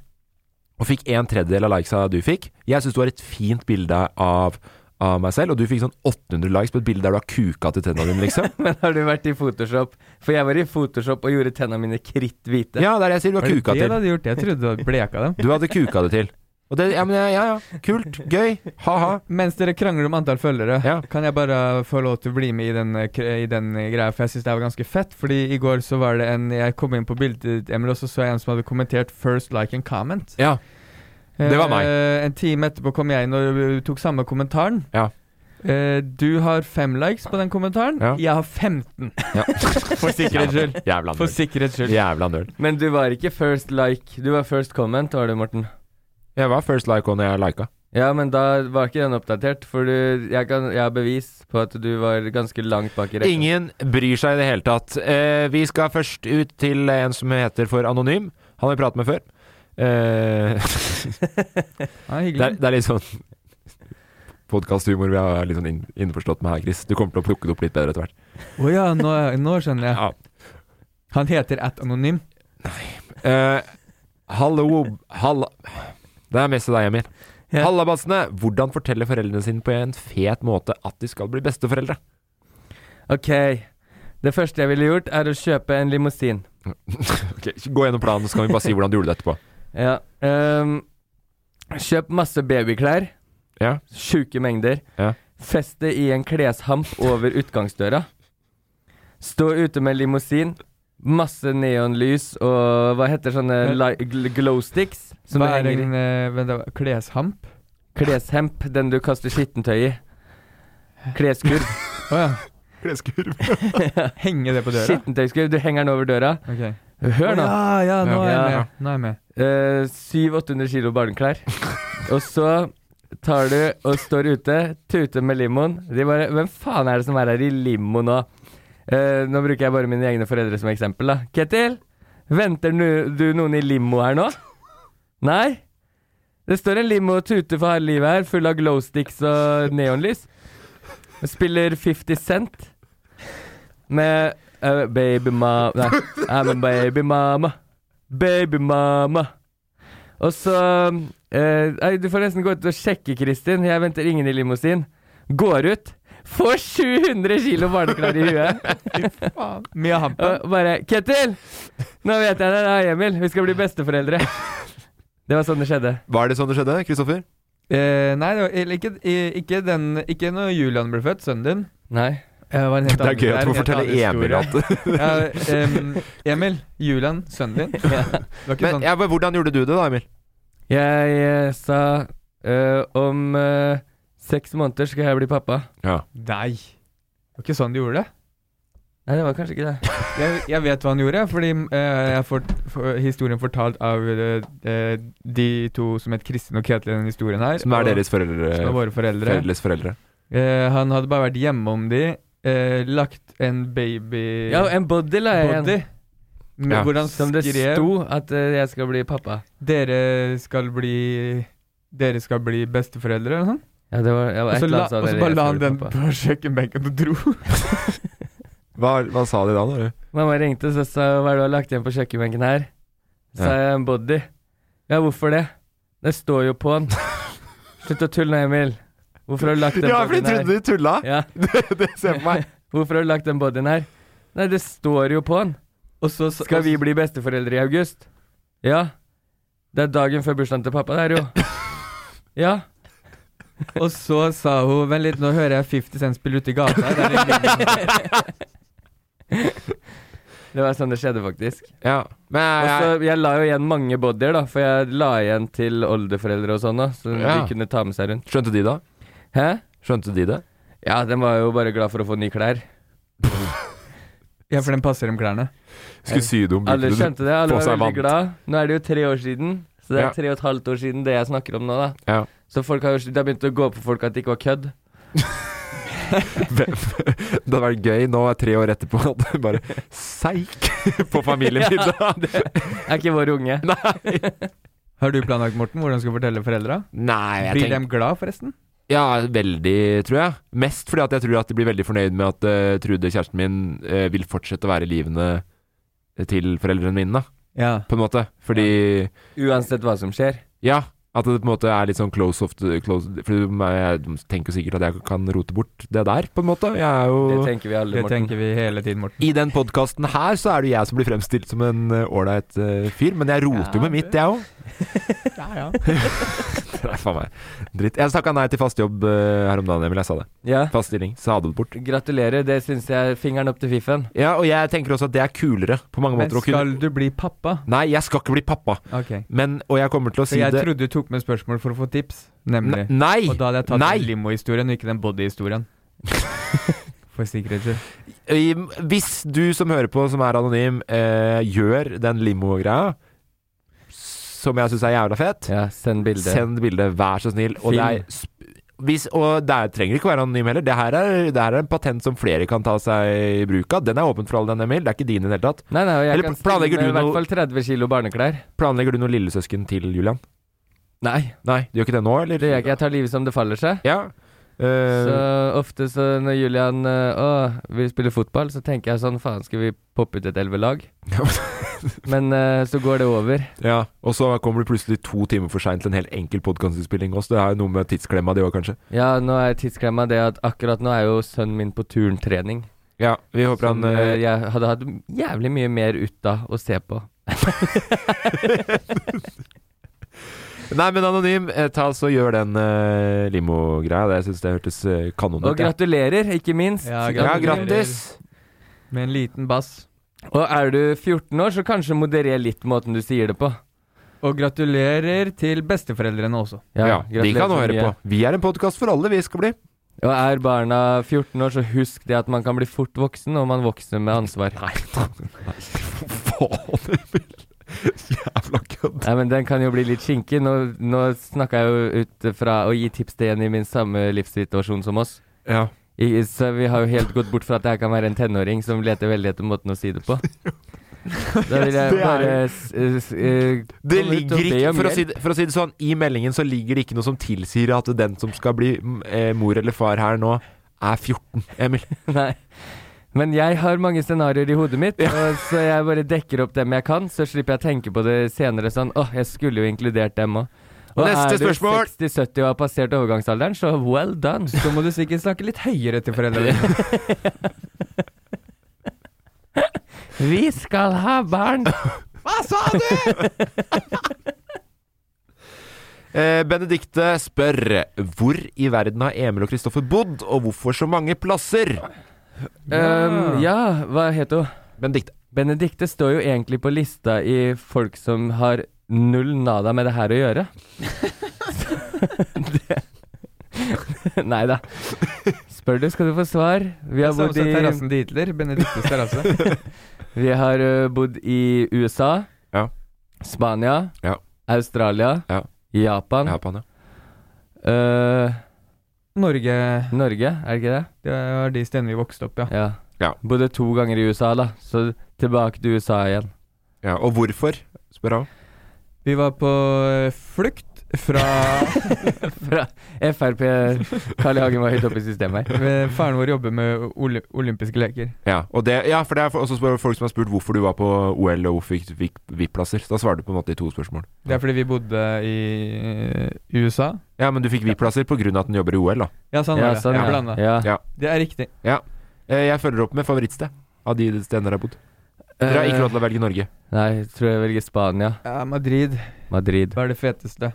[SPEAKER 1] og fikk en tredjedel av likesa du fikk. Jeg syns det var et fint bilde av, av meg selv, og du fikk sånn 800 likes på et bilde der du har kuka til tennene dine, liksom.
[SPEAKER 2] Men har du vært i Photoshop? For jeg var i Photoshop og gjorde tennene mine kritthvite.
[SPEAKER 1] Ja, det er det jeg sier. Du har
[SPEAKER 3] Var det
[SPEAKER 1] kuka
[SPEAKER 3] det du
[SPEAKER 1] til.
[SPEAKER 3] hadde gjort? Jeg trodde du hadde bleka dem.
[SPEAKER 1] Du hadde kuka det til. Og det, ja, men ja, ja. Kult. Gøy. Ha-ha.
[SPEAKER 3] Mens dere krangler om antall følgere,
[SPEAKER 1] Ja.
[SPEAKER 3] kan jeg bare få lov til å bli med i den, eh, kre- i den eh, greia, for jeg syns det her var ganske fett. Fordi i går så var det en Jeg kom inn på bildet ditt, Emil, og så så jeg en som hadde kommentert 'first like and comment'.
[SPEAKER 1] Ja. Det var meg.
[SPEAKER 3] Eh, en time etterpå kom jeg inn og eh, tok samme kommentaren.
[SPEAKER 1] Ja.
[SPEAKER 3] Eh, du har fem likes på den kommentaren.
[SPEAKER 1] Ja.
[SPEAKER 3] Jeg har 15.
[SPEAKER 1] Ja.
[SPEAKER 3] For sikkerhets skyld.
[SPEAKER 1] Jævla
[SPEAKER 3] For
[SPEAKER 1] nøl.
[SPEAKER 3] sikkerhets skyld.
[SPEAKER 1] Jævla nøl.
[SPEAKER 2] Men du var ikke first like. Du var first comment, var du, Morten?
[SPEAKER 1] Jeg var first like on jeg lika.
[SPEAKER 2] Ja, men da var ikke den oppdatert, for du, jeg, kan, jeg har bevis på at du var ganske langt bak i rekka.
[SPEAKER 1] Ingen bryr seg i det hele tatt. Eh, vi skal først ut til en som heter for Anonym. Han har vi pratet med før. Eh,
[SPEAKER 3] Ja,
[SPEAKER 1] det, er,
[SPEAKER 3] hyggelig.
[SPEAKER 1] det er litt sånn podkasthumor vi er litt sånn inn, innforstått med her, Chris. Du kommer til å plukke det opp litt bedre etter hvert.
[SPEAKER 3] Å ja, nå, nå skjønner jeg.
[SPEAKER 1] Ja.
[SPEAKER 3] Han heter at anonym.
[SPEAKER 1] Eh, hallo Halla Det er mest til deg, Emil.
[SPEAKER 2] Ja.
[SPEAKER 1] Hallabassene! Hvordan forteller foreldrene sine på en fet måte at de skal bli besteforeldre?
[SPEAKER 2] Ok, Det første jeg ville gjort, er å kjøpe en limousin.
[SPEAKER 1] Ok, Gå gjennom planen, så kan vi bare si hvordan du gjorde det etterpå.
[SPEAKER 2] Ja. ehm, kjøp masse babyklær.
[SPEAKER 1] Ja.
[SPEAKER 2] Sjuke mengder.
[SPEAKER 1] Ja.
[SPEAKER 2] Fest det i en kleshamp over utgangsdøra. Stå ute med limousin. Masse neonlys og hva heter sånne
[SPEAKER 3] Men-
[SPEAKER 2] li- gl- glow sticks? Som
[SPEAKER 3] Hva
[SPEAKER 2] det
[SPEAKER 3] er
[SPEAKER 2] henger i.
[SPEAKER 3] en eh, vent, da, kleshamp?
[SPEAKER 2] Kleshemp, den du kaster skittentøy i. Kleskurv.
[SPEAKER 3] Å ja.
[SPEAKER 1] Kleskurv.
[SPEAKER 3] Henge det på døra?
[SPEAKER 2] Skittentøyskurv. Du henger den over døra.
[SPEAKER 3] Ok.
[SPEAKER 2] Hør
[SPEAKER 3] Å,
[SPEAKER 2] nå!
[SPEAKER 3] Ja, ja, nå er jeg
[SPEAKER 2] Ja.
[SPEAKER 3] med. Nå er jeg med.
[SPEAKER 2] Eh, 700-800 kilo barneklær. Og så tar du og står ute, tuter med limoen. De bare Hvem faen er det som er her i limo nå? Eh, nå bruker jeg bare mine egne foreldre som eksempel, da. Ketil, venter nu, du noen i limo her nå? Nei? Det står en limo og tuter for harde livet her, full av glowsticks og neonlys. Spiller 50 Cent med eh, Baby mama Nei, I'm a baby mama. Baby mama. Og så eh, nei, Du får nesten gå ut og sjekke, Kristin. Jeg venter ingen i limousin. Går ut. Får 700 kilo barneklær i huet.
[SPEAKER 3] Faen. Mye hamp.
[SPEAKER 2] Og bare 'Ketil! Nå vet jeg det. Det er Emil. Vi skal bli besteforeldre'. Det var sånn det skjedde.
[SPEAKER 1] Var det sånn det skjedde, Kristoffer?
[SPEAKER 3] Eh, nei, det var, eller ikke, i- ikke, den, ikke når Julian ble født, sønnen din.
[SPEAKER 2] Nei.
[SPEAKER 3] Eh, var en helt
[SPEAKER 1] Det er
[SPEAKER 3] annen-
[SPEAKER 1] gøy at du
[SPEAKER 3] en
[SPEAKER 1] må
[SPEAKER 3] helt
[SPEAKER 1] fortelle
[SPEAKER 3] annen
[SPEAKER 1] Emil
[SPEAKER 3] historie.
[SPEAKER 1] at
[SPEAKER 3] ja, em, Emil, Julian, sønnen din. Det var ikke
[SPEAKER 1] Men
[SPEAKER 3] sånn
[SPEAKER 1] ja, men hvordan gjorde du det, da, Emil?
[SPEAKER 2] Jeg eh, sa eh, om eh, seks måneder skal jeg bli pappa.
[SPEAKER 3] Nei. Det var ikke sånn de gjorde det.
[SPEAKER 2] Nei, det var kanskje ikke det.
[SPEAKER 3] Jeg, jeg vet hva han gjorde, fordi eh, jeg får for, historien fortalt av eh, eh, de to som het Kristin og Ketil i denne historien her.
[SPEAKER 1] Som er
[SPEAKER 3] og-
[SPEAKER 1] deres foreldre,
[SPEAKER 3] Som er våre foreldre.
[SPEAKER 1] foreldres foreldre.
[SPEAKER 3] Eh, han hadde bare vært hjemme om de, eh, lagt en baby
[SPEAKER 2] Ja, en body la jeg
[SPEAKER 3] body.
[SPEAKER 2] igjen.
[SPEAKER 3] Med
[SPEAKER 1] Ja.
[SPEAKER 3] Hvor han
[SPEAKER 2] Som det
[SPEAKER 3] skrev
[SPEAKER 2] sto at eh, jeg skal bli pappa.
[SPEAKER 3] Dere skal bli Dere skal bli besteforeldre, eller noe sånt.
[SPEAKER 2] Ja, det var, jeg var
[SPEAKER 3] Og
[SPEAKER 2] et
[SPEAKER 3] så
[SPEAKER 2] eller
[SPEAKER 3] la-
[SPEAKER 2] annet sånt
[SPEAKER 3] og så
[SPEAKER 2] der,
[SPEAKER 3] bare
[SPEAKER 2] jeg
[SPEAKER 3] la
[SPEAKER 2] skal
[SPEAKER 3] han
[SPEAKER 2] bli
[SPEAKER 3] den
[SPEAKER 2] pappa.
[SPEAKER 3] på kjøkkenbenken og dro.
[SPEAKER 1] Hva, hva sa de da? da?
[SPEAKER 2] Mamma ringte og sa hva er det du har lagt igjen på kjøkkenbenken her? Så
[SPEAKER 1] Ja.
[SPEAKER 2] sa jeg en body. Ja, hvorfor det? Det står jo på den. Slutt å tulle nå, Emil. Hvorfor har du lagt den
[SPEAKER 1] Ja, for de
[SPEAKER 2] bodyen her?
[SPEAKER 1] trodde de tulla!
[SPEAKER 2] Ja,
[SPEAKER 1] Det ser jeg for meg.
[SPEAKER 2] hvorfor har du lagt den bodyen her? Nei, det står jo på den.
[SPEAKER 3] Og så, så,
[SPEAKER 2] Skal vi bli besteforeldre i august? Ja. Det er dagen før bursdagen til pappa, det er jo. Ja.
[SPEAKER 3] og så sa hun Vent litt, nå hører jeg 50 Cent spille ute i gata. Det er litt
[SPEAKER 2] Det var sånn det skjedde, faktisk.
[SPEAKER 1] Ja. Men
[SPEAKER 2] Og
[SPEAKER 1] jeg,
[SPEAKER 2] så, Jeg la jo igjen mange bodyer, da, for jeg la igjen til oldeforeldre og sånn, da, så
[SPEAKER 1] Ja.
[SPEAKER 2] de kunne ta med seg rundt.
[SPEAKER 1] skjønte de da?
[SPEAKER 2] Hæ?
[SPEAKER 1] Skjønte de det?
[SPEAKER 2] Ja, den var jo bare glad for å få nye klær.
[SPEAKER 3] Ja, for den passer dem klærne.
[SPEAKER 1] Skulle sy det om
[SPEAKER 2] Alle skjønte det, alle
[SPEAKER 1] Få
[SPEAKER 2] var veldig
[SPEAKER 1] seg vant.
[SPEAKER 2] glad. Nå er det jo tre år siden, så det
[SPEAKER 1] Ja.
[SPEAKER 2] er tre og et halvt år siden det jeg snakker om nå, da.
[SPEAKER 1] Ja.
[SPEAKER 2] Så folk har jo det har begynt å gå opp for folk at det ikke var kødd.
[SPEAKER 1] Det hadde vært gøy nå tre år etterpå at du bare seik på familiemiddag. Det-
[SPEAKER 2] Er ikke vår unge.
[SPEAKER 3] Har du planlagt, Morten, hvordan du skal fortelle foreldra?
[SPEAKER 1] Nei, jeg
[SPEAKER 3] Blir
[SPEAKER 1] tenker
[SPEAKER 3] dem glad, forresten?
[SPEAKER 1] Ja, veldig, tror jeg. Mest fordi at jeg tror at de blir veldig fornøyd med at eh, Trude, kjæresten min, eh, vil fortsette å være i livene til foreldrene mine, da,
[SPEAKER 3] Ja.
[SPEAKER 1] på en måte. Fordi
[SPEAKER 2] Uansett hva som skjer.
[SPEAKER 1] Ja, at det på en måte er litt sånn close off the- close, For jeg tenker jo sikkert at jeg kan rote bort det der, på en måte. Jeg
[SPEAKER 2] Det
[SPEAKER 1] er jo
[SPEAKER 2] tenker vi alle,
[SPEAKER 3] Det
[SPEAKER 2] Morten.
[SPEAKER 3] tenker vi hele tiden, Morten.
[SPEAKER 1] I den podkasten her så er det jo jeg som blir fremstilt som en eh, ålreit eh, fyr, men jeg roter jo med mitt, jeg òg.
[SPEAKER 3] Ja, ja.
[SPEAKER 1] Det er faen meg dritt. Jeg takka nei til fast jobb eh, her om dagen, Emil. Jeg sa det.
[SPEAKER 2] Ja.
[SPEAKER 1] Fast stilling. Sa det bort.
[SPEAKER 2] Gratulerer, det syns jeg er fingeren opp til fiffen.
[SPEAKER 1] Ja, og jeg tenker også at det er kulere på mange
[SPEAKER 3] Men
[SPEAKER 1] måter å kunne
[SPEAKER 3] skal du bli pappa?
[SPEAKER 1] Nei, jeg skal ikke bli pappa,
[SPEAKER 3] Ok.
[SPEAKER 1] men Og jeg kommer til å
[SPEAKER 3] For
[SPEAKER 1] si
[SPEAKER 3] jeg
[SPEAKER 1] det
[SPEAKER 3] trodde du tok med spørsmål for å få tips, nemlig.
[SPEAKER 1] Ne- Nei!
[SPEAKER 3] Og da hadde jeg tatt
[SPEAKER 1] Nei!
[SPEAKER 3] den limo-historien, og ikke den body-historien. For sikkerhets skyld.
[SPEAKER 1] Øy, Hvis du som hører på, som er anonym, eh, gjør den limo-greia, som jeg syns er jævla fett,
[SPEAKER 2] Ja, send bilde.
[SPEAKER 1] send bilde, vær så snill. Og det,
[SPEAKER 2] Film.
[SPEAKER 1] er, sp- hvis, og det er, trenger ikke være anonym heller. Det her, er, det her er en patent som flere kan ta seg i bruk av. Den er åpen for alle, den, Emil. Det er ikke din i det hele tatt.
[SPEAKER 2] Nei, nei, og jeg
[SPEAKER 1] Eller
[SPEAKER 2] kan
[SPEAKER 1] planlegger
[SPEAKER 2] stille med
[SPEAKER 1] du
[SPEAKER 2] i hvert
[SPEAKER 1] noe-
[SPEAKER 2] fall 30 kilo barneklær.
[SPEAKER 1] Planlegger du noen lillesøsken til Julian?
[SPEAKER 2] Nei,
[SPEAKER 1] Nei, du gjør ikke det nå, eller?
[SPEAKER 2] det gjør jeg ikke. Jeg tar livet som det faller seg.
[SPEAKER 1] Ja. Eh,
[SPEAKER 2] Så ofte så når Julian øh, Å, vil spille fotball, så tenker jeg sånn Faen, skal vi poppe ut et elvelag? Men øh, så går det over.
[SPEAKER 1] ja. Og så kommer du plutselig to timer for seint til en helt enkel podkastinnspilling også. Det er jo noe med tidsklemma, det òg, kanskje.
[SPEAKER 2] Ja, nå er tidsklemma det at akkurat nå er jo sønnen min på turntrening.
[SPEAKER 1] Ja, vi håper
[SPEAKER 2] Som,
[SPEAKER 1] han eh,
[SPEAKER 2] eh, jeg hadde hatt jævlig mye mer ut av å se på.
[SPEAKER 1] Nei, men Anonym, eh, ta så gjør den eh, limo-greia. Det- Jeg syns det hørtes eh, kanon ut.
[SPEAKER 2] Og
[SPEAKER 1] ja.
[SPEAKER 2] gratulerer, ikke minst.
[SPEAKER 3] Ja,
[SPEAKER 1] Ja,
[SPEAKER 3] gratulerer.
[SPEAKER 1] grattis!
[SPEAKER 3] Med en liten bass.
[SPEAKER 2] Og er du 14 år, så kanskje moderer litt måten du sier det på.
[SPEAKER 3] Og gratulerer til besteforeldrene også.
[SPEAKER 1] Ja, de
[SPEAKER 2] gratulerer
[SPEAKER 1] kan
[SPEAKER 2] så
[SPEAKER 1] høre
[SPEAKER 2] mye.
[SPEAKER 1] på. Vi er en podkast for alle, vi skal bli.
[SPEAKER 2] Og er barna 14 år, så husk det at man kan bli fort voksen, og man vokser med ansvar. Nei,
[SPEAKER 1] Faen, jævla kødd.
[SPEAKER 2] men den kan jo bli litt skinkig. Nå, nå snakka jeg jo ut fra å gi tips til en i min samme livssituasjon som oss.
[SPEAKER 1] Ja.
[SPEAKER 2] I, så vi har jo helt gått bort fra at det her kan være en tenåring som leter veldig etter måten å si det på. Da vil jeg
[SPEAKER 1] Det er-
[SPEAKER 2] bare s- s- eh,
[SPEAKER 1] Det
[SPEAKER 2] komme ut og
[SPEAKER 1] ligger
[SPEAKER 2] be
[SPEAKER 1] ikke
[SPEAKER 2] om
[SPEAKER 1] for å,
[SPEAKER 2] hjelp.
[SPEAKER 1] si det, for å si det sånn, i meldingen så ligger det ikke noe som tilsier at den som skal bli mm, eh, mor eller far her nå, er 14, Emil.
[SPEAKER 2] Nei. Men jeg har mange scenarioer i hodet mitt, og så jeg bare dekker opp dem jeg kan. Så slipper jeg å tenke på det senere sånn Åh, jeg skulle jo inkludert dem òg. Og
[SPEAKER 1] Neste
[SPEAKER 2] er du
[SPEAKER 1] spørsmål.
[SPEAKER 2] 60-70 og har passert overgangsalderen, så well done.
[SPEAKER 3] Så må du sikkert snakke litt høyere til foreldrene. dine.
[SPEAKER 2] Vi skal ha barn!
[SPEAKER 1] Hva sa du?! eh, Benedikte spør hvor i verden har Emil og Kristoffer bodd, og hvorfor så mange plasser?
[SPEAKER 2] Um, ja, hva heter hun?
[SPEAKER 1] Benedikte.
[SPEAKER 2] Benedikte står jo egentlig på lista i folk som har null nada med det her å gjøre. det. Nei da. Spør du, skal du få svar. Vi har
[SPEAKER 3] Samme
[SPEAKER 2] bodd
[SPEAKER 3] som
[SPEAKER 2] i
[SPEAKER 3] terrassen til Hitler. Benediktes terrasse.
[SPEAKER 2] Vi har ø, bodd i USA,
[SPEAKER 1] Ja.
[SPEAKER 2] Spania,
[SPEAKER 1] Ja.
[SPEAKER 2] Australia,
[SPEAKER 1] Ja.
[SPEAKER 2] Japan,
[SPEAKER 1] Japan, ja.
[SPEAKER 2] ø,
[SPEAKER 3] Norge.
[SPEAKER 2] Norge, er det ikke det?
[SPEAKER 3] Det var de stedene vi vokste opp, ja.
[SPEAKER 2] Ja.
[SPEAKER 1] Ja.
[SPEAKER 2] Bodde to ganger i USA, da. Så tilbake til USA igjen.
[SPEAKER 1] ja. Og hvorfor, spør han.
[SPEAKER 3] Vi var på eh, flukt fra
[SPEAKER 2] Fra Frp Carl I. Hagen var høyt oppe i systemet her.
[SPEAKER 3] Eh, Faren vår jobber med oli olympiske leker.
[SPEAKER 1] Ja, og det, ja, for det er også spør- folk som har spurt hvorfor du var på OL og hvorfor fikk fikk VIP-plasser. Da svarer du på en måte i to spørsmål.
[SPEAKER 3] Det er fordi vi bodde i eh, USA.
[SPEAKER 1] Ja, men du fikk VIP-plasser pga. at den jobber i OL, da.
[SPEAKER 3] Ja, sånn
[SPEAKER 2] Ja,
[SPEAKER 3] var det.
[SPEAKER 2] sånn,
[SPEAKER 3] Jeg
[SPEAKER 2] ja.
[SPEAKER 3] blanda.
[SPEAKER 2] ja.
[SPEAKER 1] Ja.
[SPEAKER 3] Det er riktig.
[SPEAKER 1] Eh, Jeg følger opp med favorittsted av de stedene dere har bodd. Dere har ikke lov til å velge Norge.
[SPEAKER 2] Eh, Nei, jeg tror jeg velger Spania.
[SPEAKER 3] Ja, Madrid.
[SPEAKER 2] Madrid.
[SPEAKER 3] Hva er det feteste?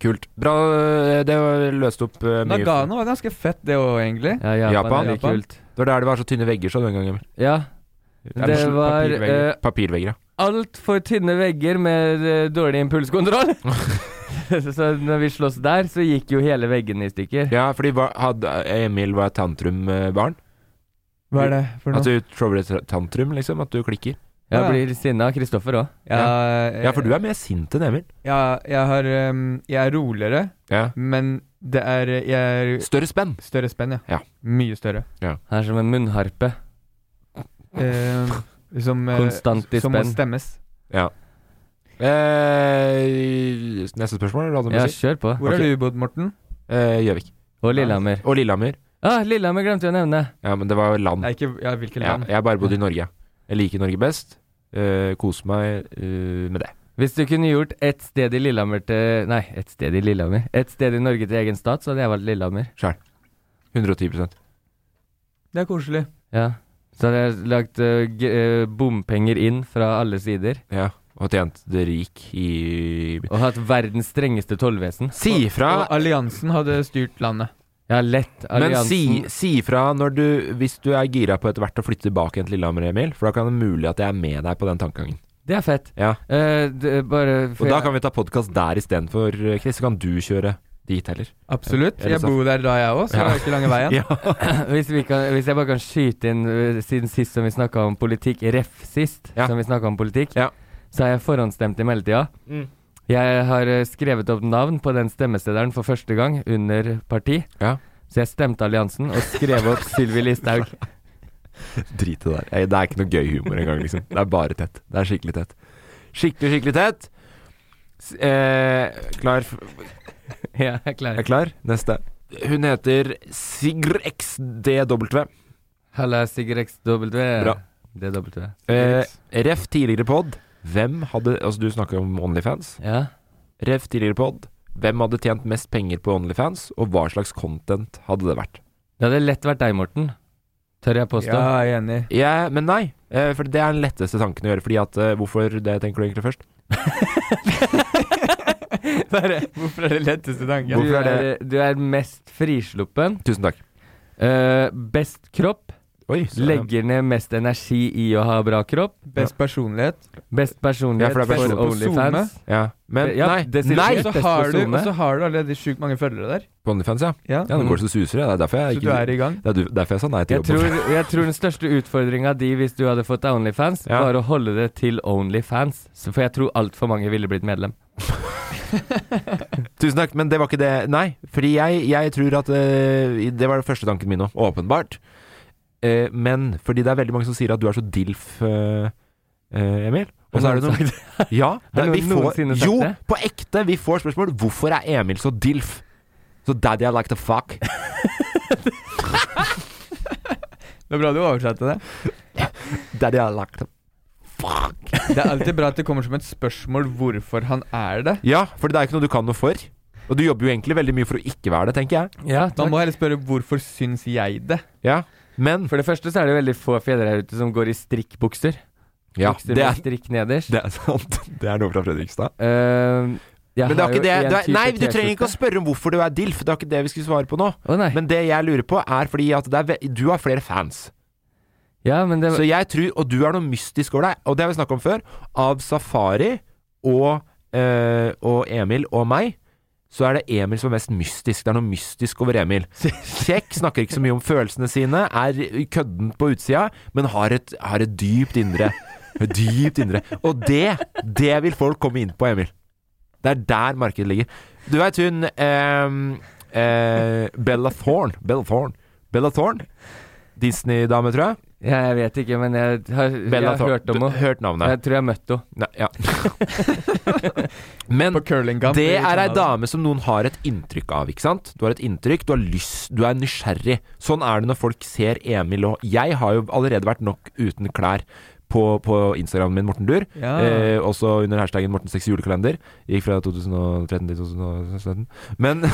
[SPEAKER 1] Kult. Bra, eh, det var- løste opp eh, mye.
[SPEAKER 3] Nagano var ganske fett, det òg, egentlig.
[SPEAKER 2] Ja, Japan,
[SPEAKER 1] Japan,
[SPEAKER 2] er litt
[SPEAKER 3] Japan.
[SPEAKER 2] kult.
[SPEAKER 1] Det var der det var så tynne vegger så den gangen.
[SPEAKER 2] Ja. Det
[SPEAKER 1] Eller-
[SPEAKER 2] var
[SPEAKER 3] papirvegger.
[SPEAKER 2] uh,
[SPEAKER 1] Papirvegger, ja.
[SPEAKER 2] altfor tynne vegger med eh, dårlig impulskontroll. så når vi sloss der, så gikk jo hele veggen i stykker.
[SPEAKER 1] Ja, fordi hva, hadde Emil var tantrum-barn.
[SPEAKER 3] Hva er det for
[SPEAKER 1] At
[SPEAKER 3] noe?
[SPEAKER 1] du trouble tantrum, liksom. At du klikker.
[SPEAKER 2] Jeg
[SPEAKER 3] Ja.
[SPEAKER 2] blir sinna. Kristoffer òg.
[SPEAKER 3] eh,
[SPEAKER 1] Ja, for du er mer sint enn Emil.
[SPEAKER 3] ja, jeg, har, ehm, jeg er roligere,
[SPEAKER 1] Ja.
[SPEAKER 3] men det er Jeg er
[SPEAKER 1] Større spenn.
[SPEAKER 3] større spenn, ja.
[SPEAKER 1] Ja.
[SPEAKER 3] Mye større.
[SPEAKER 2] Han er som en munnharpe.
[SPEAKER 3] Eh, som, eh,
[SPEAKER 2] Konstant i
[SPEAKER 3] som må
[SPEAKER 2] spenn.
[SPEAKER 3] stemmes.
[SPEAKER 1] Eh, neste spørsmål, eller hva
[SPEAKER 2] Ja,
[SPEAKER 1] du si?
[SPEAKER 2] kjør på.
[SPEAKER 3] Hvor
[SPEAKER 1] Ok.
[SPEAKER 3] har du bodd, Morten?
[SPEAKER 1] Eh, Gjøvik.
[SPEAKER 2] Og Lillehammer.
[SPEAKER 1] Og Lillehammer.
[SPEAKER 2] Ah, Lillehammer glemte jeg å nevne.
[SPEAKER 1] Ja, men det var land.
[SPEAKER 3] Nei, ikke ja, hvilket
[SPEAKER 1] Ja,
[SPEAKER 3] land.
[SPEAKER 1] jeg har bare bodd i Norge. Jeg liker Norge best. Eh, Koser meg eh, med det.
[SPEAKER 2] Hvis du kunne gjort ett sted i Lillehammer til Nei, ett sted i Lillehammer. Ett sted i Norge til egen stat, så hadde jeg valgt Lillehammer.
[SPEAKER 1] 110
[SPEAKER 3] Det er koselig.
[SPEAKER 2] Ja. Så hadde jeg lagt eh, g eh, bompenger inn fra alle sider.
[SPEAKER 1] Ja, og tjent det rik i
[SPEAKER 2] Og hatt verdens strengeste tollvesen.
[SPEAKER 1] Si ifra,
[SPEAKER 3] Og alliansen hadde styrt landet.
[SPEAKER 2] Ja, lett.
[SPEAKER 1] men
[SPEAKER 2] Alliansen.
[SPEAKER 1] si, si ifra når du, hvis du er gira på etter hvert å flytte tilbake igjen til Lillehammer, Emil. For da kan det mulig at jeg er med deg på den tankegangen.
[SPEAKER 2] Det er fett.
[SPEAKER 1] Ja,
[SPEAKER 2] Eh, det, bare
[SPEAKER 1] Og da kan vi ta podkast der istedenfor, eh, Chris. Så kan du kjøre dit heller.
[SPEAKER 3] Absolutt.
[SPEAKER 1] Ja, det er
[SPEAKER 3] Jeg bor der da, jeg òg, så det
[SPEAKER 1] Ja.
[SPEAKER 3] er ikke lange veien.
[SPEAKER 2] hvis, vi kan, hvis jeg bare kan skyte inn eh, siden sist som vi snakka om politikk, ref sist
[SPEAKER 1] Ja.
[SPEAKER 2] som vi snakket om politikk,
[SPEAKER 1] Ja.
[SPEAKER 2] så har jeg forhåndsstemt i mellomtida. Jeg har eh, skrevet opp navn på den stemmeseddelen for første gang under parti.
[SPEAKER 1] Ja.
[SPEAKER 2] Så jeg stemte alliansen og skrev opp Sylvi Listhaug.
[SPEAKER 1] Drit i det der. Jeg- Det er ikke noe gøy humor engang, liksom. Det er bare tett. Det er skikkelig tett. Skikkelig, skikkelig tett. S eh, klar f
[SPEAKER 2] ja, jeg er
[SPEAKER 1] Er
[SPEAKER 2] klar.
[SPEAKER 1] jeg klar? Neste. Hun heter Sigr XDW.
[SPEAKER 2] Halla, Sigurd XW.
[SPEAKER 1] Bra.
[SPEAKER 2] DW.
[SPEAKER 1] Eh, ref tidligere pod. Hvem hadde Altså, du snakker om Onlyfans.
[SPEAKER 2] Ja.
[SPEAKER 1] Ref tidligere pod. Hvem hadde tjent mest penger på Onlyfans, og hva slags content hadde det vært?
[SPEAKER 2] Det hadde lett vært deg, Morten. tør jeg påstå.
[SPEAKER 3] Ja, jeg er enig.
[SPEAKER 1] Ja, men nei. Eh, For det er den letteste tanken å gjøre. Fordi at eh, Hvorfor det, tenker du egentlig først?
[SPEAKER 3] Bare, hvorfor er det letteste tanken?
[SPEAKER 1] Hvorfor
[SPEAKER 2] Du
[SPEAKER 1] er
[SPEAKER 2] er,
[SPEAKER 1] det-
[SPEAKER 2] du er mest frisluppen.
[SPEAKER 1] Tusen takk.
[SPEAKER 2] eh, best kropp.
[SPEAKER 1] Oi, så-
[SPEAKER 2] Legger ned mest energi i å ha bra kropp.
[SPEAKER 3] Best personlighet.
[SPEAKER 2] Best
[SPEAKER 1] Ja,
[SPEAKER 2] personlighet
[SPEAKER 1] for det er
[SPEAKER 2] for,
[SPEAKER 1] personlighet.
[SPEAKER 2] Onlyfans.
[SPEAKER 1] Ja. Men
[SPEAKER 2] Ja,
[SPEAKER 1] nei,
[SPEAKER 2] det sier-
[SPEAKER 1] nei!
[SPEAKER 3] Og så
[SPEAKER 2] best
[SPEAKER 3] har du,
[SPEAKER 2] persone.
[SPEAKER 3] og så har du allerede sjukt mange følgere der.
[SPEAKER 1] På OnlyFans, ja. Ja, Nå går det Mm. så suser. ja. Det er derfor jeg
[SPEAKER 3] Så du er i gang.
[SPEAKER 1] Det er du- derfor jeg sa nei til
[SPEAKER 2] Jeg
[SPEAKER 1] jobb.
[SPEAKER 2] tror, jeg tror den største utfordringa di hvis du hadde fått deg Onlyfans,
[SPEAKER 1] Ja.
[SPEAKER 2] var å holde det til Onlyfans. Så- For jeg tror altfor mange ville blitt medlem.
[SPEAKER 1] Tusen takk, men det var ikke det. Nei, fordi jeg, jeg tror at eh, Det var den første tanken min nå, åpenbart. Eh, men fordi det er veldig mange som sier at du er så dilf, eh, eh, Emil. Og så er det noen Ja, det,
[SPEAKER 2] Har noen
[SPEAKER 1] vi får,
[SPEAKER 2] noensinne sagt
[SPEAKER 1] jo,
[SPEAKER 2] det?
[SPEAKER 1] på ekte! Vi får spørsmål hvorfor er Emil så dilf. Så daddy I like to fuck.
[SPEAKER 3] Det er bra du oversatte det.
[SPEAKER 1] Daddy I like to fuck.
[SPEAKER 3] Det er alltid bra at det kommer som et spørsmål hvorfor han er det.
[SPEAKER 1] Ja, for det er ikke noe du kan noe for. Og du jobber jo egentlig veldig mye for å ikke være det, tenker jeg.
[SPEAKER 2] Ja,
[SPEAKER 3] Man må heller spørre hvorfor syns jeg det.
[SPEAKER 1] Ja, Men
[SPEAKER 2] For det første så er det veldig få fedre her ute som går i strikkbukser.
[SPEAKER 1] ja,
[SPEAKER 2] bukser
[SPEAKER 1] det,
[SPEAKER 2] med
[SPEAKER 1] er,
[SPEAKER 2] strikk nederst.
[SPEAKER 1] det er sant. Det er noe fra Fredrikstad.
[SPEAKER 2] Eh, jeg
[SPEAKER 1] Men det
[SPEAKER 2] har
[SPEAKER 1] er ikke
[SPEAKER 2] jo
[SPEAKER 1] det
[SPEAKER 2] en
[SPEAKER 1] det er,
[SPEAKER 2] type
[SPEAKER 1] Nei, du trenger ikke å
[SPEAKER 2] T-skjorte.
[SPEAKER 1] spørre om hvorfor du er DILF. Det er ikke det vi skulle svare på nå.
[SPEAKER 2] Å nei.
[SPEAKER 1] Men det jeg lurer på, er fordi at det er ve du har flere fans.
[SPEAKER 2] ja, men det,
[SPEAKER 1] Så jeg tror Og du har noe mystisk over deg, og det har vi snakka om før. Av Safari og, eh, og Emil og meg, så er det Emil som er mest mystisk. Det er noe mystisk over Emil. Kjekk, snakker ikke så mye om følelsene sine, er kødden på utsida, men har et, har et dypt indre. Et dypt indre. Og det, det vil folk komme inn på, Emil. Det er der markedet ligger. Du veit hun ehm, eh, Bella Thorne. Bella Thorne. Bella Thorne. Disney-dame, tror jeg.
[SPEAKER 2] ja, jeg vet ikke, men jeg har, jeg har
[SPEAKER 1] Thorne.
[SPEAKER 2] hørt om
[SPEAKER 1] Du-
[SPEAKER 2] henne.
[SPEAKER 1] Hørt navnet.
[SPEAKER 2] Jeg tror jeg har møtt henne.
[SPEAKER 1] Nei, ja. Men
[SPEAKER 3] På curlingkamp. sånn
[SPEAKER 1] det
[SPEAKER 3] i
[SPEAKER 1] er ei
[SPEAKER 3] Canada.
[SPEAKER 1] dame som noen har et inntrykk av, ikke sant? Du har et inntrykk, du har lyst, du er nysgjerrig. Sånn er det når folk ser Emil og Jeg har jo allerede vært nok uten klær. På, på Instagramen min, Morten Dur.
[SPEAKER 3] Ja.
[SPEAKER 1] Eh, også under hashtagen Morten 6 julekalender. Gikk fra 2013 til 2017. Men,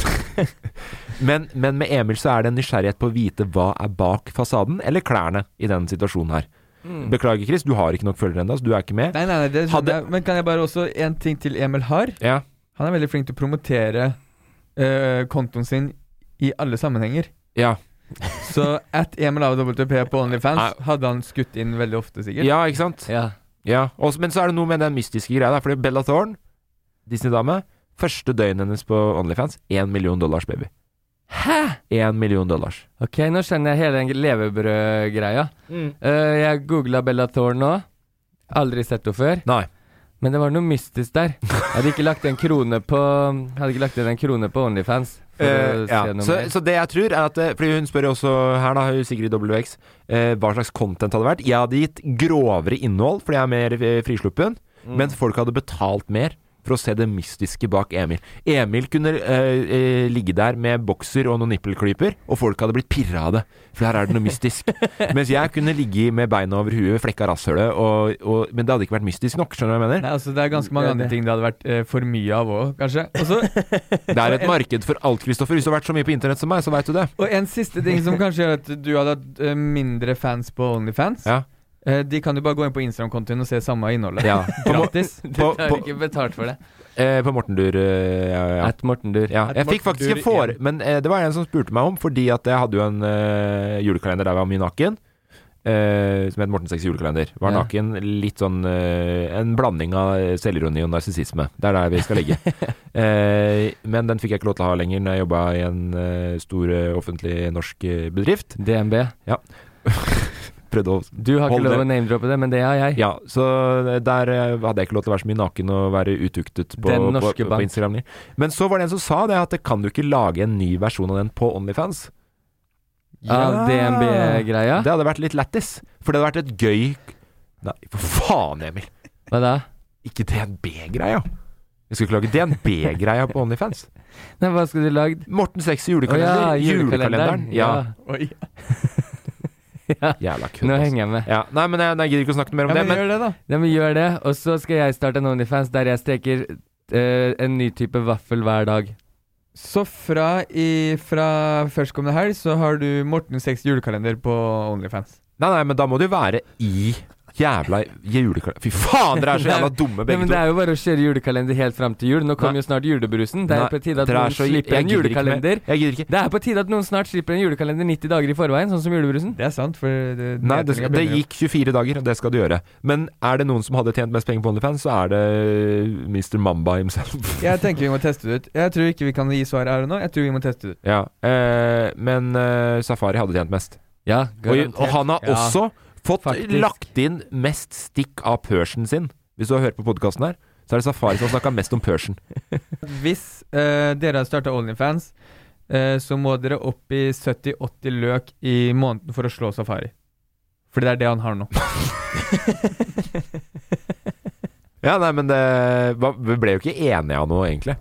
[SPEAKER 1] men, men med Emil så er det en nysgjerrighet på å vite hva er bak fasaden, eller klærne, i den situasjonen her. Beklager, Chris, du har ikke nok følgere ennå, så du er ikke med.
[SPEAKER 3] Nei, nei, nei, det skjønner
[SPEAKER 1] Hadde-
[SPEAKER 3] jeg. Men kan jeg bare også En ting til Emil har.
[SPEAKER 1] Ja.
[SPEAKER 3] Han er veldig flink til å promotere eh, kontoen sin i alle sammenhenger.
[SPEAKER 1] ja.
[SPEAKER 3] Så at Emil AWP på OnlyFans
[SPEAKER 1] Nei.
[SPEAKER 3] hadde han skutt inn veldig ofte, sikkert.
[SPEAKER 1] Ja, ikke sant?
[SPEAKER 2] Ja.
[SPEAKER 1] Ja. Også, men så er det noe med den mystiske greia. der, Fordi Bella Thorne, Disney-dame, første døgnet hennes på Onlyfans, én million dollars, baby. Hæ?! Én million dollars.
[SPEAKER 2] Ok, nå skjønner jeg hele den levebrødgreia. Eh, jeg googla Bella Thorne nå. Aldri sett henne før.
[SPEAKER 1] Nei.
[SPEAKER 2] Men det var noe mystisk der. Jeg hadde ikke lagt en krone på Hadde ikke lagt inn en krone på Onlyfans. For
[SPEAKER 1] Eh,
[SPEAKER 2] å se
[SPEAKER 1] ja.
[SPEAKER 2] noe
[SPEAKER 1] så,
[SPEAKER 2] mer.
[SPEAKER 1] så det jeg tror er at eh, Fordi hun spør jo også her, da, Sigrid WX, eh, hva slags content hadde vært. Jeg hadde gitt grovere innhold, fordi jeg er mer eh, frisluppen,
[SPEAKER 2] Mm.
[SPEAKER 1] mens folk hadde betalt mer. For å se det mystiske bak Emil. Emil kunne eh, eh, ligge der med bokser og noen nippelklyper, og folk hadde blitt pirra av det. For her er det noe mystisk. Mens jeg kunne ligge med beina over huet, flekka rasshølet, og, og, men det hadde ikke vært mystisk nok. Skjønner du hva jeg mener?
[SPEAKER 3] Nei, altså Det er ganske mange
[SPEAKER 2] Det er
[SPEAKER 3] andre
[SPEAKER 2] det.
[SPEAKER 3] ting det hadde vært eh, for mye av òg, kanskje. Og så-
[SPEAKER 1] Det er et marked for alt, Kristoffer. Hvis du har vært så mye på internett som meg, så veit du det.
[SPEAKER 3] og en siste ting som kanskje gjør at du hadde hatt eh, mindre fans på OnlyFans.
[SPEAKER 1] Ja.
[SPEAKER 3] Eh, de kan jo bare gå inn på Instagram-kontoen og se samme innholdet.
[SPEAKER 1] Ja. På, Mo-
[SPEAKER 3] Gratis.
[SPEAKER 1] på,
[SPEAKER 2] Jeg har
[SPEAKER 1] på,
[SPEAKER 2] ikke betalt for det.
[SPEAKER 1] Eh, på Mortendur, eh, ja, ja.
[SPEAKER 2] At Morten Dur.
[SPEAKER 1] ja. Jeg fikk faktisk en fore...
[SPEAKER 3] Mortendur
[SPEAKER 1] Men eh, det var en som spurte meg om, fordi at jeg hadde jo en eh, julekalender der jeg var mye naken. eh, som het Morten Seks julekalender. Var
[SPEAKER 2] Ja.
[SPEAKER 1] naken litt sånn eh, En blanding av selvironi og narsissisme. Det er der vi skal ligge. Eh, men den fikk jeg ikke lov til å ha lenger når jeg jobba i en eh, stor eh, offentlig norsk eh, bedrift.
[SPEAKER 2] DNB.
[SPEAKER 1] Prøvde å
[SPEAKER 2] Du har
[SPEAKER 1] Hold
[SPEAKER 2] ikke lov å
[SPEAKER 1] det.
[SPEAKER 2] name-droppe det, men det har jeg.
[SPEAKER 1] Ja, så der eh, hadde jeg ikke lov til å være så mye naken og være utuktet på,
[SPEAKER 2] Den
[SPEAKER 1] på,
[SPEAKER 2] norske
[SPEAKER 1] på
[SPEAKER 2] bank.
[SPEAKER 1] Instagram. Men så var det en som sa det, at det kan du ikke lage en ny versjon av den på Onlyfans.
[SPEAKER 2] Av DNB-greia.
[SPEAKER 1] Det hadde vært litt lættis, for det hadde vært et gøy Nei, for faen, Emil!
[SPEAKER 2] Hva da?
[SPEAKER 1] Ikke DNB-greia! Jeg skulle ikke lage DNB-greia på Onlyfans.
[SPEAKER 2] Nei, hva skulle du lagd?
[SPEAKER 1] Morten Seks
[SPEAKER 2] Å ja,
[SPEAKER 1] julekalender.
[SPEAKER 2] julekalenderen.
[SPEAKER 1] julekalenderen. Ja.
[SPEAKER 3] Oi.
[SPEAKER 1] Jævla kødd.
[SPEAKER 2] Nå
[SPEAKER 1] altså.
[SPEAKER 2] henger jeg med.
[SPEAKER 1] Ja. Nei, men jeg, nei, jeg gidder ikke å snakke mer om
[SPEAKER 3] Ja,
[SPEAKER 1] det.
[SPEAKER 3] men,
[SPEAKER 1] Men,
[SPEAKER 3] gjør det, da.
[SPEAKER 2] Ja, men gjør det, og så skal jeg starte en Onlyfans der jeg steker eh, en ny type vaffel hver dag.
[SPEAKER 3] Så fra, i, fra førstkommende helg så har du Morten 6 julekalender på Onlyfans.
[SPEAKER 1] Nei, nei, men da må du være i jævla julekalender Fy faen, dere er så jævla dumme
[SPEAKER 2] Nei,
[SPEAKER 1] begge
[SPEAKER 2] men
[SPEAKER 1] to!
[SPEAKER 2] Det er jo bare å kjøre julekalender helt fram til jul. Nå kommer
[SPEAKER 1] Nei.
[SPEAKER 2] jo snart julebrusen. Det er
[SPEAKER 1] Nei,
[SPEAKER 2] jo på tide at
[SPEAKER 1] dere er
[SPEAKER 2] noen
[SPEAKER 1] så-
[SPEAKER 2] slipper
[SPEAKER 1] jeg
[SPEAKER 2] en
[SPEAKER 1] gidder ikke mer.
[SPEAKER 2] julekalender.
[SPEAKER 1] Jeg gidder ikke.
[SPEAKER 2] Det er på tide at noen snart slipper en julekalender 90 dager i forveien, sånn som julebrusen.
[SPEAKER 3] Det er sant, for det,
[SPEAKER 1] Nei, det, skal- det gikk 24 dager, og det skal du gjøre. Men er det noen som hadde tjent mest penger på OnlyFans, så er det Mr. Mamba himself.
[SPEAKER 3] Jeg tenker vi må teste det ut. Jeg tror ikke vi kan gi svar her og nå. Jeg tror vi må teste det ut.
[SPEAKER 1] Ja, eh, men eh, Safari hadde tjent mest.
[SPEAKER 2] Ja,
[SPEAKER 1] Og, og
[SPEAKER 2] garantert.
[SPEAKER 1] han har
[SPEAKER 3] Ja,
[SPEAKER 1] også fått
[SPEAKER 2] faktisk.
[SPEAKER 1] lagt inn mest stikk av Persen sin. Hvis du har hørt på podkasten her, så er det Safari som har snakka mest om Persen.
[SPEAKER 3] Hvis eh, dere har starta Onlyfans, eh, så må dere opp i 70-80 løk i måneden for å slå Safari. Fordi det er det han har nå.
[SPEAKER 1] Ja, nei, men det hva- Vi ble jo ikke enige av noe, egentlig.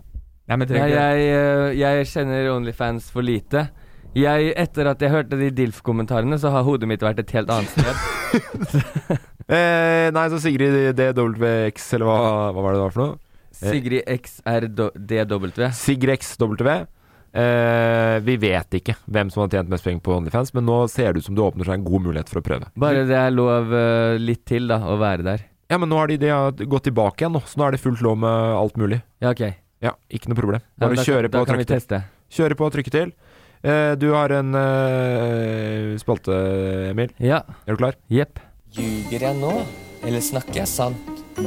[SPEAKER 3] Nei,
[SPEAKER 2] Nei,
[SPEAKER 3] men trenger ikke det.
[SPEAKER 2] jeg, eh, jeg kjenner Onlyfans for lite. Jeg, etter at jeg hørte de DILF-kommentarene, så har hodet mitt vært et helt annet sted.
[SPEAKER 1] Eh, nei, så Sigrid DWX, eller hva, hva var det det var for noe?
[SPEAKER 2] Sigrid XRDW.
[SPEAKER 1] Sigrex W. Eh, vi vet ikke hvem som har tjent mest penger på OnlyFans, men nå ser det ut som det åpner seg en god mulighet for å prøve.
[SPEAKER 2] Bare det er lov eh, litt til, da, å være der.
[SPEAKER 1] Ja, men nå har de, de har gått tilbake igjen, nå, så nå er det fullt lov med alt mulig.
[SPEAKER 2] Ja, OK. Ja,
[SPEAKER 1] Ja, ikke noe problem. Bare
[SPEAKER 2] men da,
[SPEAKER 1] kjøre på
[SPEAKER 2] da
[SPEAKER 1] og
[SPEAKER 2] kan
[SPEAKER 1] trykke
[SPEAKER 2] vi
[SPEAKER 1] til.
[SPEAKER 2] teste.
[SPEAKER 1] Kjøre på og trykke til. Eh, du har en eh, spalte, Emil.
[SPEAKER 2] Ja.
[SPEAKER 1] Er du klar?
[SPEAKER 2] Jepp.
[SPEAKER 7] Ljuger jeg nå, eller snakker jeg sant?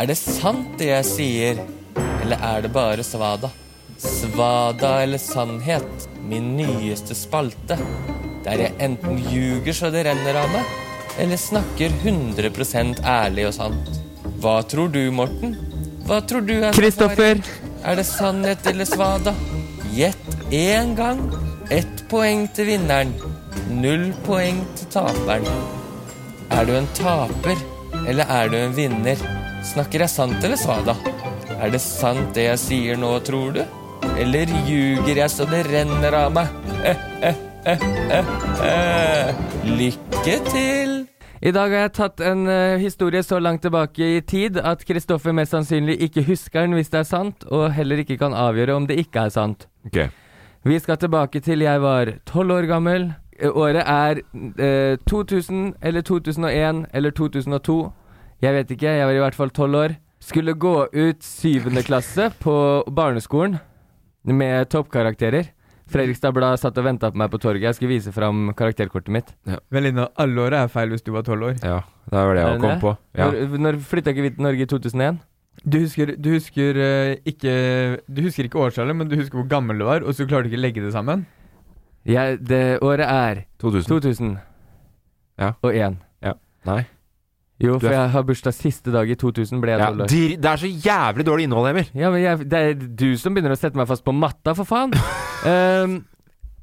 [SPEAKER 7] Er det sant det jeg sier, eller er det bare svada? Svada eller sannhet, min nyeste spalte. Der jeg enten ljuger så det renner av meg, eller snakker 100 ærlig og sant. Hva tror du, Morten? Hva tror du er svaret?
[SPEAKER 2] Kristoffer!
[SPEAKER 7] Er det sannhet eller svada? Gjett én gang. Ett poeng til vinneren. Null poeng til taperen. Er du en taper, eller er du en vinner? Snakker jeg sant eller svada? Er det sant det jeg sier nå, tror du? Eller ljuger jeg så det renner av meg? Eh, eh, eh, eh, eh. Lykke til!
[SPEAKER 2] I dag har jeg tatt en eh, historie så langt tilbake i tid at Kristoffer mest sannsynlig ikke husker den hvis det er sant, og heller ikke kan avgjøre om det ikke er sant.
[SPEAKER 1] Ok.
[SPEAKER 2] Vi skal tilbake til jeg var tolv år gammel. Eh, Året er eh, 2000 eller 2001 eller 2002. Jeg vet ikke, jeg var i hvert fall tolv år. Skulle gå ut syvende klasse på barneskolen med toppkarakterer. Fredrikstad Blad satt og venta på meg på torget. Jeg skulle vise fram karakterkortet mitt.
[SPEAKER 3] Venninna, alle åra er feil hvis du var tolv år.
[SPEAKER 1] Ja, det var det
[SPEAKER 2] Er
[SPEAKER 1] jeg
[SPEAKER 2] det
[SPEAKER 1] kom
[SPEAKER 2] det?
[SPEAKER 1] på. Ja.
[SPEAKER 2] Når, når flytta ikke vi til Norge i 2001?
[SPEAKER 3] Du husker, du husker eh, ikke Du husker ikke årstallet, men du husker hvor gammel du var, og så klarer du ikke å legge det sammen?
[SPEAKER 2] Jeg, det året er
[SPEAKER 1] 2000.
[SPEAKER 2] 2000
[SPEAKER 1] Ja.
[SPEAKER 2] og 1.
[SPEAKER 1] Nei.
[SPEAKER 2] Jo,
[SPEAKER 1] Du
[SPEAKER 2] for
[SPEAKER 1] er-
[SPEAKER 2] jeg har bursdag siste dag i 2000, ble jeg
[SPEAKER 1] Ja,
[SPEAKER 2] tolv år.
[SPEAKER 1] de, det er så jævlig dårlig innhold, Emil.
[SPEAKER 2] Ja, men jeg, det er du som begynner å sette meg fast på matta, for faen. Ehm,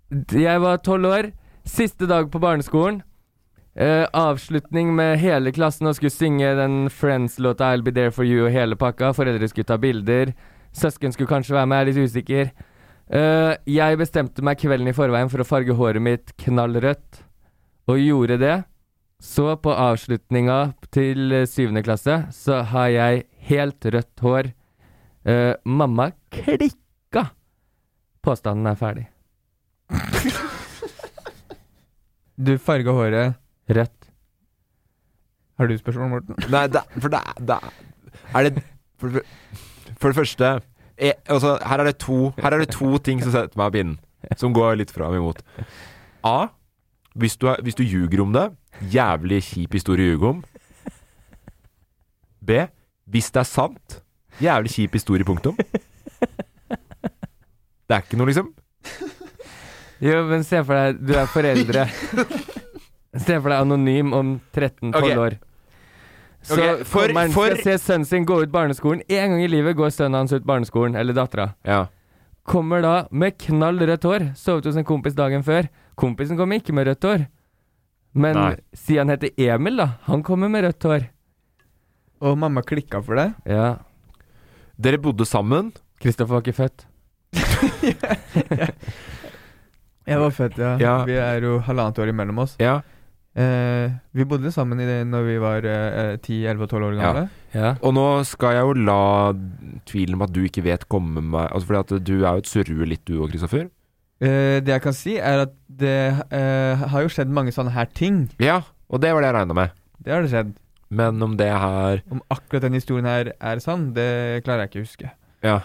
[SPEAKER 2] d- jeg var tolv år. Siste dag på barneskolen. Eh, avslutning med hele klassen og skulle synge den Friends-låta 'I'll Be There For You' og hele pakka. Foreldre skulle ta bilder. Søsken skulle kanskje være med, jeg er litt usikker. Eh, jeg bestemte meg kvelden i forveien for å farge håret mitt knallrødt, og gjorde det. Så på avslutninga til eh, syvende klasse så har jeg helt rødt hår. Eh, mamma klikka! Påstanden er ferdig.
[SPEAKER 3] Du farga håret
[SPEAKER 2] Rødt.
[SPEAKER 3] Har du spørsmål, Morten?
[SPEAKER 1] Nei, det, for det, er- det er- er det For, det- for det første e, altså, her, er det to, her er det to ting som setter meg av pinnen, som går litt fram imot. A. Hvis du, er, hvis du ljuger om det. Jævlig kjip historie å ljuge om. B. Hvis det er sant. Jævlig kjip historie, punktum. Det er ikke noe, liksom.
[SPEAKER 2] Jo, men se for deg, du er foreldre. se for deg anonym om 13-12
[SPEAKER 1] Ok.
[SPEAKER 2] år. Så
[SPEAKER 1] Ok, for-
[SPEAKER 2] kommer han
[SPEAKER 1] for-
[SPEAKER 2] skal se sønnen sin gå ut barneskolen. En gang i livet går sønnen hans ut barneskolen, eller dattera.
[SPEAKER 1] Ja.
[SPEAKER 2] Kommer da med knall rødt hår. Sovet hos en kompis dagen før. Kompisen kommer ikke med rødt hår. Men
[SPEAKER 1] Nei.
[SPEAKER 2] si han heter Emil, da. Han kommer med rødt hår.
[SPEAKER 3] Og mamma klikka for deg?
[SPEAKER 2] Ja.
[SPEAKER 1] Dere bodde sammen.
[SPEAKER 2] Kristoffer var ikke født.
[SPEAKER 3] Jeg var født, ja.
[SPEAKER 1] Ja.
[SPEAKER 3] Vi er jo halvannet år imellom oss.
[SPEAKER 1] Ja.
[SPEAKER 3] eh, Vi bodde sammen i det når vi var eh, 10-11-12 år gamle.
[SPEAKER 1] Og nå skal jeg jo la tvilen om at du ikke vet komme meg altså Fordi at du er jo et surrue litt du òg, Kristoffer.
[SPEAKER 3] Eh, det jeg kan si, er at det eh, har jo skjedd mange sånne her ting.
[SPEAKER 1] Ja, og det var det jeg regna med.
[SPEAKER 3] Det har det skjedd.
[SPEAKER 1] Men om det her
[SPEAKER 3] Om akkurat den historien her er sann, det klarer jeg ikke å huske.
[SPEAKER 1] Ja.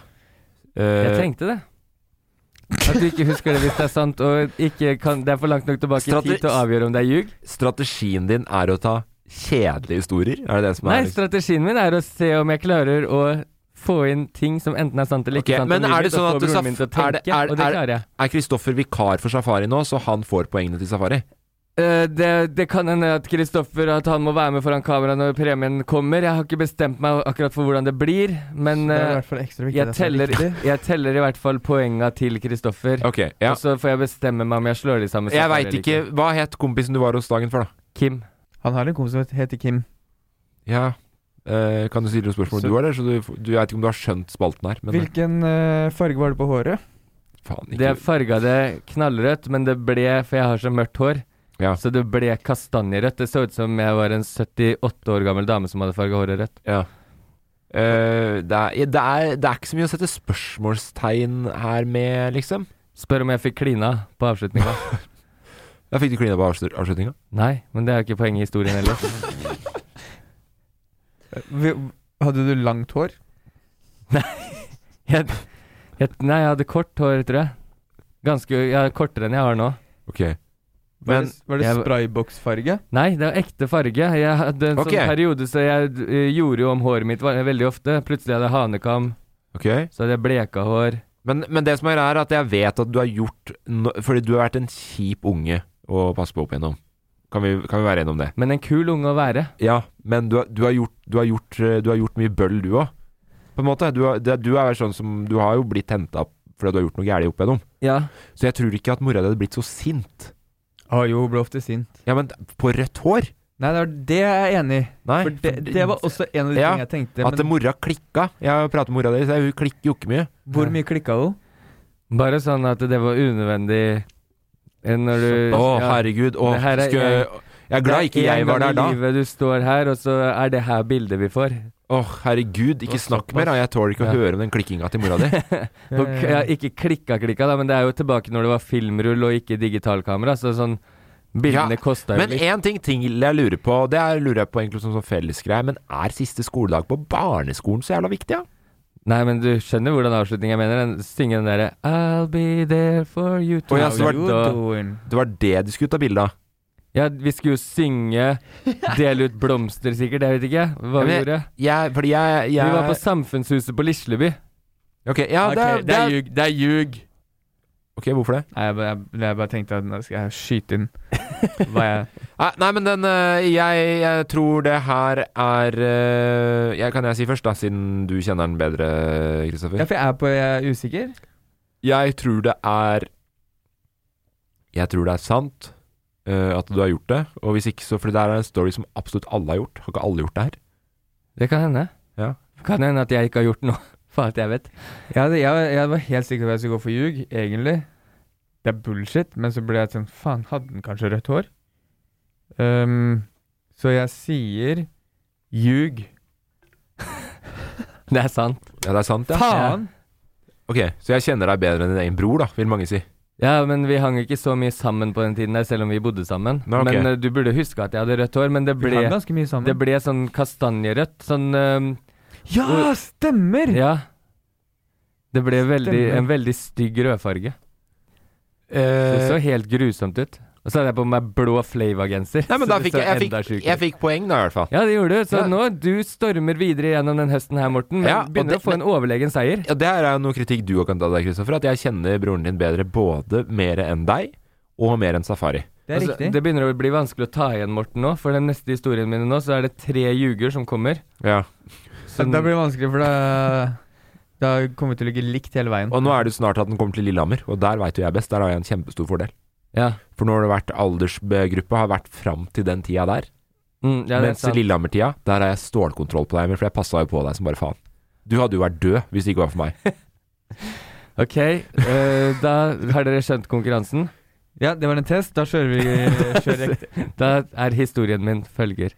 [SPEAKER 2] Jeg
[SPEAKER 1] Eh,
[SPEAKER 2] trengte det. Eh, At du ikke husker det hvis det er sant, og ikke kan, det er for langt nok tilbake i tid til å avgjøre om det er ljug.
[SPEAKER 1] Strategien din er å ta kjedelige historier? Er det det som
[SPEAKER 2] Nei,
[SPEAKER 1] er liksom-
[SPEAKER 2] strategien min er å se om jeg klarer å få inn ting som enten er sant eller
[SPEAKER 1] Ok,
[SPEAKER 2] ikke sant.
[SPEAKER 1] men
[SPEAKER 2] om
[SPEAKER 1] er det
[SPEAKER 2] livet, og
[SPEAKER 1] sånn
[SPEAKER 2] få
[SPEAKER 1] at du
[SPEAKER 2] broren
[SPEAKER 1] saf
[SPEAKER 2] min til å
[SPEAKER 1] er, det-
[SPEAKER 2] tenke,
[SPEAKER 1] er,
[SPEAKER 2] og det klarer
[SPEAKER 1] er,
[SPEAKER 2] jeg.
[SPEAKER 1] er Kristoffer vikar for Safari nå, så han får poengene til Safari?
[SPEAKER 2] Eh, det, det kan hende at Kristoffer at han må være med foran kamera når premien kommer. Jeg har ikke bestemt meg akkurat for hvordan det blir, men
[SPEAKER 3] Det er i
[SPEAKER 2] eh,
[SPEAKER 3] hvert fall ekstra viktig.
[SPEAKER 2] jeg
[SPEAKER 3] at det er
[SPEAKER 2] teller,
[SPEAKER 3] riktig.
[SPEAKER 2] jeg teller i hvert fall poenga til Kristoffer.
[SPEAKER 1] Ok, ja.
[SPEAKER 2] Og så får jeg bestemme meg om jeg slår de sammen.
[SPEAKER 1] Jeg
[SPEAKER 2] Safari
[SPEAKER 1] veit
[SPEAKER 2] eller
[SPEAKER 1] ikke Hva het kompisen du var hos dagen før, da?
[SPEAKER 2] Kim.
[SPEAKER 3] Han har en kompis som heter Kim.
[SPEAKER 1] Ja eh, Kan du stille noen spørsmål
[SPEAKER 3] Så-
[SPEAKER 1] du har der? Så du, du jeg vet ikke om du har skjønt spalten her, men
[SPEAKER 3] Hvilken eh, farge var det på håret?
[SPEAKER 1] faen ikke
[SPEAKER 2] Det farga det knallrødt, men det ble, for jeg har så mørkt hår,
[SPEAKER 1] Ja.
[SPEAKER 2] så det ble kastanjerødt. Det så ut som jeg var en 78 år gammel dame som hadde farga håret rødt.
[SPEAKER 1] Ja. Eh, det, er, det, er, det er ikke så mye å sette spørsmålstegn her med, liksom.
[SPEAKER 2] Spør om jeg fikk klina på avslutninga.
[SPEAKER 1] Da fikk du klina på avslut- avslutninga.
[SPEAKER 2] Nei, men det er jo ikke poenget i historien heller.
[SPEAKER 3] Eh, Vi- Hadde du langt hår?
[SPEAKER 2] Jeg, jeg, nei, jeg hadde kort hår, tror jeg. Ganske, ja, Kortere enn jeg har nå.
[SPEAKER 1] Ok.
[SPEAKER 3] Var
[SPEAKER 1] Men-
[SPEAKER 3] det, var det
[SPEAKER 2] jeg-
[SPEAKER 3] sprayboksfarge?
[SPEAKER 2] Nei, det er ekte farge. Jeg hadde en
[SPEAKER 1] Ok.
[SPEAKER 2] sånn periode så jeg eh, gjorde jo om håret mitt va- veldig ofte. Plutselig hadde jeg hanekam,
[SPEAKER 1] ok.
[SPEAKER 2] så hadde jeg bleka hår.
[SPEAKER 1] Men, men det som er greia, er at jeg vet at du har gjort no Fordi du har vært en kjip unge å passe på opp igjennom. Kan vi, kan vi være enige om det?
[SPEAKER 2] Men en kul unge å være.
[SPEAKER 1] Ja, men du, har- du, har, gjort, du, har, gjort, eh, du har gjort mye bøll, du òg. På en måte. Du, har- det- du, er sånn som, du har jo blitt henta opp fordi du har gjort noe gærent opp igjennom.
[SPEAKER 2] Ja.
[SPEAKER 1] Så jeg tror ikke at mora di hadde blitt så sint.
[SPEAKER 3] Ah, jo, ble ofte sint.
[SPEAKER 1] Ja, men på rødt hår?
[SPEAKER 3] Nei, det, var det jeg er enig i.
[SPEAKER 1] Nei.
[SPEAKER 3] For det, det var også en av de
[SPEAKER 1] Ja,
[SPEAKER 3] tingene jeg tenkte.
[SPEAKER 1] At
[SPEAKER 3] Men
[SPEAKER 1] mora klikka. Jeg har jo pratet med mora di, så hun klikker jo ikke mye.
[SPEAKER 3] hvor mye klikka hun?
[SPEAKER 2] Bare sånn at det var unødvendig eh, når du
[SPEAKER 1] Å,
[SPEAKER 2] ja.
[SPEAKER 1] herregud. Å,
[SPEAKER 2] Det her er-
[SPEAKER 1] skulle jeg, jeg er glad ikke
[SPEAKER 2] Det er
[SPEAKER 1] jeg
[SPEAKER 2] en
[SPEAKER 1] var
[SPEAKER 2] gang
[SPEAKER 1] der
[SPEAKER 2] i
[SPEAKER 1] da.
[SPEAKER 2] Livet du står her, og så er det her bildet vi får.
[SPEAKER 1] Å, herregud, ikke snakk mer, da. Jeg tåler ikke å
[SPEAKER 2] Ja.
[SPEAKER 1] høre om den klikkinga til mora di.
[SPEAKER 2] Og, k- ja, ikke klikka-klikka, da, men det er jo tilbake når det var filmrull og ikke digitalkamera. Så sånn Bildene
[SPEAKER 1] Ja,
[SPEAKER 2] kosta jo
[SPEAKER 1] Men
[SPEAKER 2] litt.
[SPEAKER 1] én ting til jeg lurer på, og det er, lurer jeg på egentlig som sånn fellesgreie, men er siste skoledag på barneskolen så jævla viktig, ja?
[SPEAKER 2] Nei, men du skjønner hvordan avslutningen jeg mener? Den, synge den derre I'll be there for you
[SPEAKER 1] Å, ja, så var
[SPEAKER 2] tonight», og-
[SPEAKER 1] Det var det de skulle ta bilde av.
[SPEAKER 2] ja, vi skulle jo synge, dele ut blomster sikkert, jeg vet ikke hva
[SPEAKER 1] Ja,
[SPEAKER 2] vi
[SPEAKER 1] men-
[SPEAKER 2] gjorde.
[SPEAKER 1] Jeg, fordi jeg, jeg
[SPEAKER 2] Vi var på Samfunnshuset på Lisleby.
[SPEAKER 1] Ok, ja, det, er- det er
[SPEAKER 3] ljug. Det er ljug.
[SPEAKER 1] Ok, hvorfor det?
[SPEAKER 3] Nei, jeg, bare- jeg, jeg bare tenkte at nå skal jeg skyte inn hva jeg
[SPEAKER 1] Nei, nei, men den øh, jeg, jeg tror det her er øh, jeg, Kan jeg si først, da, siden du kjenner den bedre,
[SPEAKER 3] Ja,
[SPEAKER 1] Kristoffer?
[SPEAKER 3] for jeg er på jeg er usikker.
[SPEAKER 1] Jeg tror det er Jeg tror det er sant øh, at du har gjort det. Og hvis ikke, så For det der er en story som absolutt alle har gjort. Har ikke alle gjort det her?
[SPEAKER 2] Det kan hende.
[SPEAKER 1] Ja.
[SPEAKER 2] Kan hende at jeg ikke har gjort noe, for alt jeg vet.
[SPEAKER 3] Jeg, hadde, jeg, jeg var helt sikker på at jeg skulle gå for ljug, egentlig. Det er bullshit, men så ble jeg sånn Faen, hadde den kanskje rødt hår? Ehm, så jeg sier ljug.
[SPEAKER 2] Det er sant.
[SPEAKER 1] Ja, det er sant, ja.
[SPEAKER 3] Faen!
[SPEAKER 1] Ok, så jeg kjenner deg bedre enn din egen bror da, vil mange si
[SPEAKER 2] Ja, men vi hang ikke så mye sammen på den tiden der, selv om vi bodde sammen.
[SPEAKER 1] Nei, ok.
[SPEAKER 2] Men eh, du burde huske at jeg hadde rødt hår, men det
[SPEAKER 3] Vi hang
[SPEAKER 2] ble,
[SPEAKER 3] ganske mye sammen.
[SPEAKER 2] det ble sånn kastanjerødt. Sånn eh,
[SPEAKER 3] ja, stemmer!
[SPEAKER 2] Ja. Det ble veldig,
[SPEAKER 3] Stemmer.
[SPEAKER 2] en veldig stygg rødfarge. Det
[SPEAKER 1] Eh.
[SPEAKER 2] så helt grusomt ut. Og så hadde jeg på meg blå Flava-genser.
[SPEAKER 1] Nei,
[SPEAKER 2] så
[SPEAKER 1] men da
[SPEAKER 2] det
[SPEAKER 1] fikk
[SPEAKER 2] så
[SPEAKER 1] jeg, jeg,
[SPEAKER 2] enda
[SPEAKER 1] fikk,
[SPEAKER 2] sjukere
[SPEAKER 1] jeg fikk poeng da i hvert fall
[SPEAKER 2] Ja, det gjorde du. Så
[SPEAKER 1] Ja.
[SPEAKER 2] nå, du stormer videre gjennom den høsten her, Morten. Men
[SPEAKER 1] Ja, og
[SPEAKER 2] begynner
[SPEAKER 1] det-
[SPEAKER 2] å få en overlegen seier.
[SPEAKER 1] Ja, det er jo noe kritikk du også kan ta deg, Kristoffer At jeg kjenner broren din bedre både mer enn deg Og mer enn Safari
[SPEAKER 3] Det er
[SPEAKER 2] Altså,
[SPEAKER 3] riktig.
[SPEAKER 2] det begynner å bli vanskelig å ta igjen, Morten, nå. For den neste historien min nå, så er det tre ljuger som kommer.
[SPEAKER 1] Ja
[SPEAKER 3] Så da blir det vanskelig, for da Da kommer vi til å ligge likt hele veien.
[SPEAKER 1] Og nå er det jo snart at den kommer til Lillehammer Og der vet jo jeg best, der har jeg en kjempestor fordel
[SPEAKER 2] Ja.
[SPEAKER 1] For nå har det vært aldersgruppa Har vært fram til den tida der
[SPEAKER 2] Mm, ja, det er
[SPEAKER 1] Mens i
[SPEAKER 2] sant.
[SPEAKER 1] Lillehammer-tida, der har jeg stålkontroll på deg Emil, For jeg passet jo på deg som bare faen Du hadde jo vært død hvis det ikke var for meg
[SPEAKER 2] Ok, eh, da har dere skjønt konkurransen.
[SPEAKER 3] Ja, det var en test. Da kjører vi eh, kjører riktig.
[SPEAKER 2] Da er historien min følger.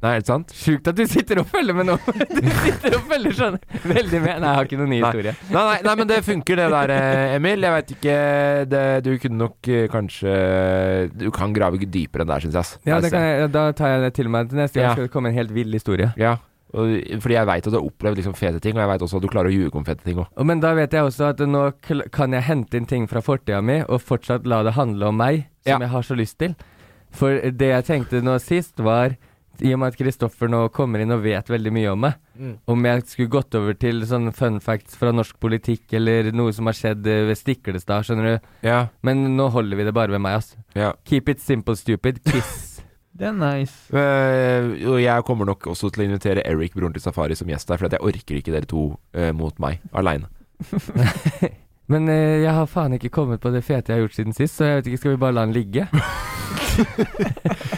[SPEAKER 1] Nei, er det sant?
[SPEAKER 2] Sjukt at du sitter og følger med nå! Du sitter og følger sånn veldig med. Nei, jeg har ikke noen ny historie.
[SPEAKER 1] Nei, nei, nei, men det funker det der, eh, Emil. Jeg veit ikke det, Du kunne nok eh, kanskje Du kan grave dypere enn der, syns jeg. ass. Altså,
[SPEAKER 2] Ja,
[SPEAKER 1] Nei,
[SPEAKER 2] det
[SPEAKER 1] så-
[SPEAKER 2] kan jeg, Eh, da tar jeg det til meg til neste gang.
[SPEAKER 1] Ja.
[SPEAKER 2] Skal det komme en helt vill historie.
[SPEAKER 1] Ja, og, fordi jeg veit at du har opplevd liksom fete ting, og jeg veit også at du klarer å ljuge om fete ting òg.
[SPEAKER 2] Og- Men da vet jeg også at nå kl- kan jeg hente inn ting fra fortida mi, og fortsatt la det handle om meg, som
[SPEAKER 1] Ja.
[SPEAKER 2] jeg har så lyst til. For det jeg tenkte nå sist, var i og med at Kristoffer nå kommer inn og vet veldig mye om meg, om jeg skulle gått over til sånne fun facts fra norsk politikk eller noe som har skjedd eh, ved Stiklestad, skjønner du.
[SPEAKER 1] Ja,
[SPEAKER 2] Men nå holder vi det bare ved meg, ass.
[SPEAKER 1] ja.
[SPEAKER 2] Keep it simple, stupid. Kiss.
[SPEAKER 3] Det er nice.
[SPEAKER 1] Eh, og jeg kommer nok også til å invitere Eric, broren til Safari, som gjest der, for at jeg orker ikke dere to eh, mot meg aleine.
[SPEAKER 2] Men eh, jeg har faen ikke kommet på det fete jeg har gjort siden sist, så jeg vet ikke, skal vi bare la den ligge?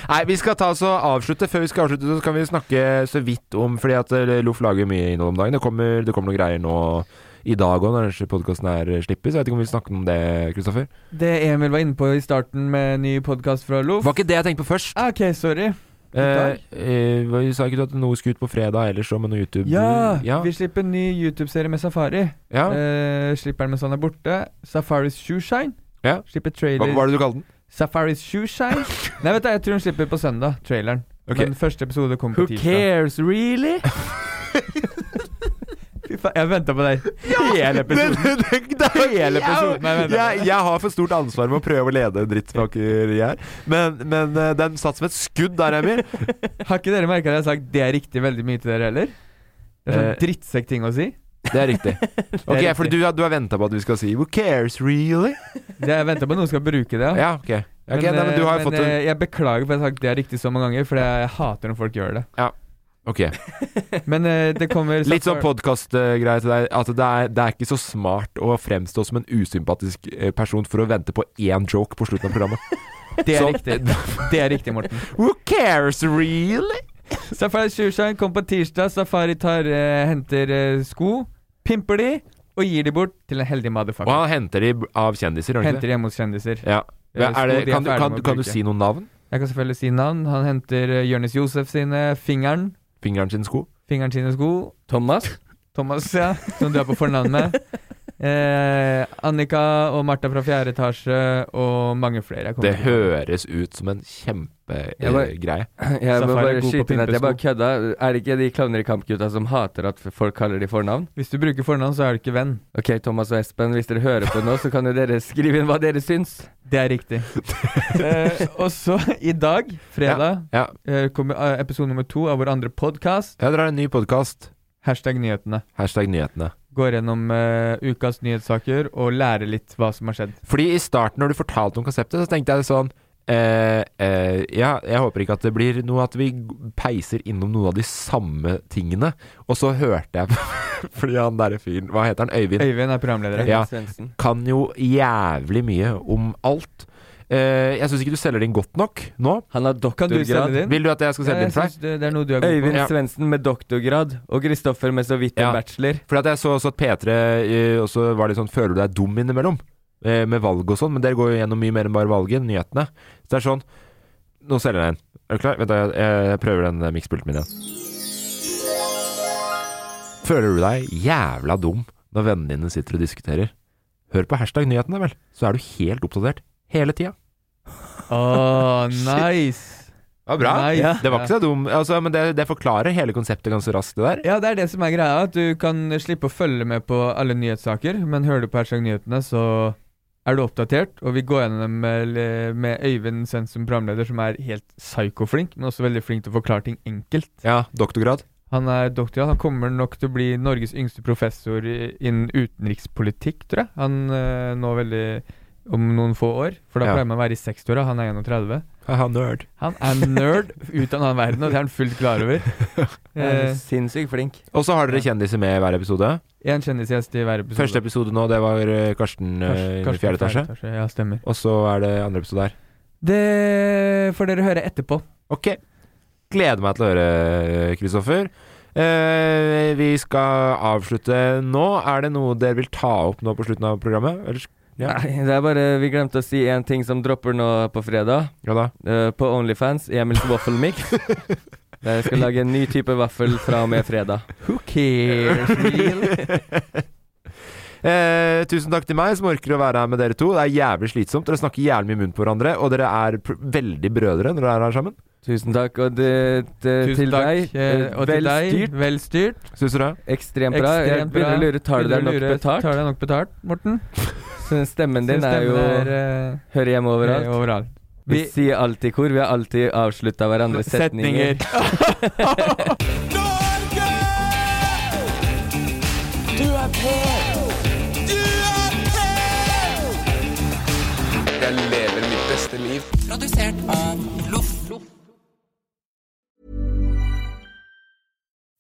[SPEAKER 1] Nei, vi skal ta oss og avslutte. Før vi skal avslutte, så kan vi snakke så vidt om Fordi at eh, Loff lager mye innhold om dagen. Det kommer, det kommer noen greier nå i dag òg, når podkasten her slipper. Så jeg vet ikke om vi vil snakke om det, Kristoffer.
[SPEAKER 3] Det Emil var inne på i starten med ny podkast fra Loff
[SPEAKER 1] Var ikke det jeg tenkte på først?
[SPEAKER 3] Ah, OK, sorry.
[SPEAKER 1] Eh, eh, hva- sa ikke du at noe skulle ut på fredag ellers òg, med noe YouTube?
[SPEAKER 3] Ja,
[SPEAKER 1] Mm, ja.
[SPEAKER 3] vi slipper en ny YouTube-serie med Safari.
[SPEAKER 1] ja.
[SPEAKER 3] Eh, slipper den mens han er borte. Safaris Shoeshine.
[SPEAKER 1] Ja.
[SPEAKER 3] Slipper
[SPEAKER 1] Hva
[SPEAKER 3] trailer
[SPEAKER 1] hva var det du kalte den?
[SPEAKER 3] Safaris Shoeshine. Nei, vet du, jeg tror hun slipper på søndag, traileren.
[SPEAKER 1] Ok.
[SPEAKER 3] Men første episode kommer
[SPEAKER 2] Who
[SPEAKER 3] på tirsdag.
[SPEAKER 2] cares, really?
[SPEAKER 3] Fy faen, jeg venta på deg hele episoden.
[SPEAKER 1] Det, det, det, det er hele episoden.
[SPEAKER 3] Nei, vent, vent,
[SPEAKER 1] Jeg, jeg har for stort ansvar med å prøve å lede en drittpakker jeg er. Men, men eh, den satt som et skudd der, Emil.
[SPEAKER 3] Har ikke dere merka at jeg har sagt 'det er riktig' veldig mye til dere heller? Det er sånn
[SPEAKER 1] Eh.
[SPEAKER 3] drittsekk-ting å si.
[SPEAKER 1] Det er riktig. Ok,
[SPEAKER 3] riktig.
[SPEAKER 1] For du, har- du har venta på at vi skal si 'Who cares, really?'
[SPEAKER 3] Det Jeg venta på at noen skal bruke det.
[SPEAKER 1] Ja, ok. Ok, nei, men du har
[SPEAKER 3] eh,
[SPEAKER 1] jo fått en
[SPEAKER 3] eh, jeg beklager for at jeg har sagt 'det er riktig' så mange ganger, for jeg hater når folk gjør det.
[SPEAKER 1] Ok.
[SPEAKER 3] Men eh, det kommer
[SPEAKER 1] Litt sånn
[SPEAKER 3] Safari-
[SPEAKER 1] podkastgreie til deg. At det er, det er ikke så smart å fremstå som en usympatisk eh, person for å vente på én joke på slutten av programmet.
[SPEAKER 3] Det er
[SPEAKER 1] Så-
[SPEAKER 3] riktig. Det er riktig, Morten.
[SPEAKER 1] Who cares, really?
[SPEAKER 3] Safari Shoeshine kom på tirsdag. Safari tar, eh, henter eh, sko, pimper de og gir de bort til en heldig
[SPEAKER 1] Og
[SPEAKER 3] motherfucker.
[SPEAKER 1] han henter de av kjendiser, gjør han
[SPEAKER 3] Henter
[SPEAKER 1] ikke det?
[SPEAKER 3] de hjemme hos kjendiser.
[SPEAKER 1] Ja.
[SPEAKER 3] Eh,
[SPEAKER 1] Er det, kan, du,
[SPEAKER 3] sko de er ferdig
[SPEAKER 1] kan,
[SPEAKER 3] med å
[SPEAKER 1] kan du
[SPEAKER 3] bruke.
[SPEAKER 1] si noen navn?
[SPEAKER 3] Jeg kan selvfølgelig si navn. Han henter uh, Jonis Josef sine fingeren.
[SPEAKER 1] Fingeren sin sko?
[SPEAKER 3] Fingeren sine sko.
[SPEAKER 2] Thomas?
[SPEAKER 3] Thomas, ja, som du er på fornavn med. Eh, Annika og Martha fra fjerde etasje, og mange flere. Jeg kommer
[SPEAKER 1] Det
[SPEAKER 3] ikke på.
[SPEAKER 1] høres ut som en
[SPEAKER 2] Jeg bare-
[SPEAKER 1] kjempegreie.
[SPEAKER 2] Jeg må
[SPEAKER 3] Safari er
[SPEAKER 2] bare
[SPEAKER 3] god på
[SPEAKER 2] skyte inn at jeg bare
[SPEAKER 3] pimpesko.
[SPEAKER 2] kødda. Er det ikke de Klovner i kamp-gutta som hater at folk kaller de fornavn?
[SPEAKER 3] Hvis du bruker fornavn, så er du ikke venn.
[SPEAKER 2] Ok, Thomas og Espen, hvis dere hører på nå, så kan jo dere skrive inn hva dere syns.
[SPEAKER 3] Det er riktig. eh, og så, i dag, fredag,
[SPEAKER 1] Ja.
[SPEAKER 3] eh, kommer eh, episode nummer to av vår andre podkast,
[SPEAKER 1] ja, dere har en ny podkast.
[SPEAKER 3] hashtag nyhetene.
[SPEAKER 1] Hashtag nyhetene.
[SPEAKER 3] Går gjennom eh, ukas nyhetssaker og lærer litt hva som har skjedd.
[SPEAKER 1] Fordi i starten når du fortalte om konseptet, så tenkte jeg sånn eh, eh, Ja, jeg håper ikke at det blir noe at vi peiser innom noen av de samme tingene. Og så hørte jeg Fordi han derre fyren Hva heter han? Øyvind?
[SPEAKER 3] Øyvind er programleder.
[SPEAKER 1] Ja.
[SPEAKER 2] Svendsen.
[SPEAKER 1] Kan jo jævlig mye om alt. Eh, jeg syns ikke du selger din godt nok nå.
[SPEAKER 2] Han har
[SPEAKER 3] Kan du selge
[SPEAKER 2] doktorgrad.
[SPEAKER 3] din?
[SPEAKER 1] Vil du at jeg skal selge
[SPEAKER 3] Ja,
[SPEAKER 1] din for deg?
[SPEAKER 3] Eh, synes det, det er noe du er god på.
[SPEAKER 2] Øyvind
[SPEAKER 1] Ja.
[SPEAKER 2] Svendsen med doktorgrad, og Kristoffer med så vidt en
[SPEAKER 1] Ja.
[SPEAKER 2] bachelor.
[SPEAKER 1] Fordi at jeg så også at P3 eh, også var litt sånn Føler du deg dum innimellom? Eh, med valg og sånn, men dere går jo gjennom mye mer enn bare valget, nyhetene. Så det er sånn Nå selger jeg den. Er du klar? Vent, da, jeg, jeg prøver den eh, mikspulten min igjen. Føler du deg jævla dum når vennene dine sitter og diskuterer? Hør på hashtag nyhetene, vel, så er du helt oppdatert. Hele tida.
[SPEAKER 3] Åh, nice!
[SPEAKER 1] Det var
[SPEAKER 3] Nice.
[SPEAKER 1] Ja. Det var ikke så dum, altså, men det, det forklarer hele konseptet ganske raskt, det der.
[SPEAKER 3] Ja, det er det som er greia. At du kan slippe å følge med på alle nyhetssaker. Men hører du på Hashtag nyhetene, så er du oppdatert. Og vi går gjennom dem med, med Øyvind Svendsen som programleder, som er helt psykoflink, men også veldig flink til å forklare ting enkelt.
[SPEAKER 1] Ja, doktorgrad.
[SPEAKER 3] Han er doktorgrad. Han kommer nok til å bli Norges yngste professor i- innen utenrikspolitikk, tror jeg. Han eh, nå veldig om noen få år. For da
[SPEAKER 1] Ja.
[SPEAKER 3] pleier man å være i 60-åra. Han er 31.
[SPEAKER 1] Haha, nerd.
[SPEAKER 3] Han er nerd ut av en annen verden, og det er han fullt klar over.
[SPEAKER 2] Han er
[SPEAKER 3] Eh,
[SPEAKER 2] Sinnssykt flink.
[SPEAKER 1] Og så har dere kjendiser med i hver episode.
[SPEAKER 3] en kjendisgjest i hver episode.
[SPEAKER 1] Første episode nå, det var eh, Karsten eh,
[SPEAKER 3] Karsten-
[SPEAKER 1] i
[SPEAKER 3] Karsten
[SPEAKER 1] fjerde etasje.
[SPEAKER 3] Ja, stemmer.
[SPEAKER 1] Og så er det andre episode her.
[SPEAKER 3] Det får dere høre etterpå.
[SPEAKER 2] Eh,
[SPEAKER 1] Ok. Gleder meg til å høre, Eh, Kristoffer. Eh, vi skal avslutte nå. Er det noe dere vil ta opp nå på slutten av programmet? Ellers
[SPEAKER 2] Nei, det er bare Vi glemte å si en ting som dropper nå på fredag.
[SPEAKER 1] Ja da.
[SPEAKER 2] Eh, på Onlyfans, Emils vaffelmix. Der jeg skal lage en ny type vaffel fra og med fredag.
[SPEAKER 1] Who cares, Eh, tusen takk til meg som orker å være her med dere to. Det er jævlig slitsomt. Dere snakker jævlig mye munn på hverandre, og dere er pr veldig brødre når dere er her sammen.
[SPEAKER 2] Tusen takk. Og det, det,
[SPEAKER 3] Tusen
[SPEAKER 2] til
[SPEAKER 3] takk.
[SPEAKER 2] deg,
[SPEAKER 3] eh, Og til deg.
[SPEAKER 2] velstyrt.
[SPEAKER 3] Vel styrt.
[SPEAKER 1] Syns du det?
[SPEAKER 2] Ekstremt bra. jeg begynner å lure, tar du deg nok betalt?
[SPEAKER 3] Tar du deg nok betalt, Morten?
[SPEAKER 2] Så Stemmen din
[SPEAKER 3] Syns
[SPEAKER 2] er jo
[SPEAKER 3] stemmen er,
[SPEAKER 2] Hører hjemme
[SPEAKER 3] eh,
[SPEAKER 2] overalt.
[SPEAKER 3] overalt.
[SPEAKER 2] Vi
[SPEAKER 3] Vi-
[SPEAKER 2] sier alltid kor. Vi har alltid avslutta hverandres setninger.
[SPEAKER 3] Setninger.
[SPEAKER 8] Jeg lever mitt beste liv.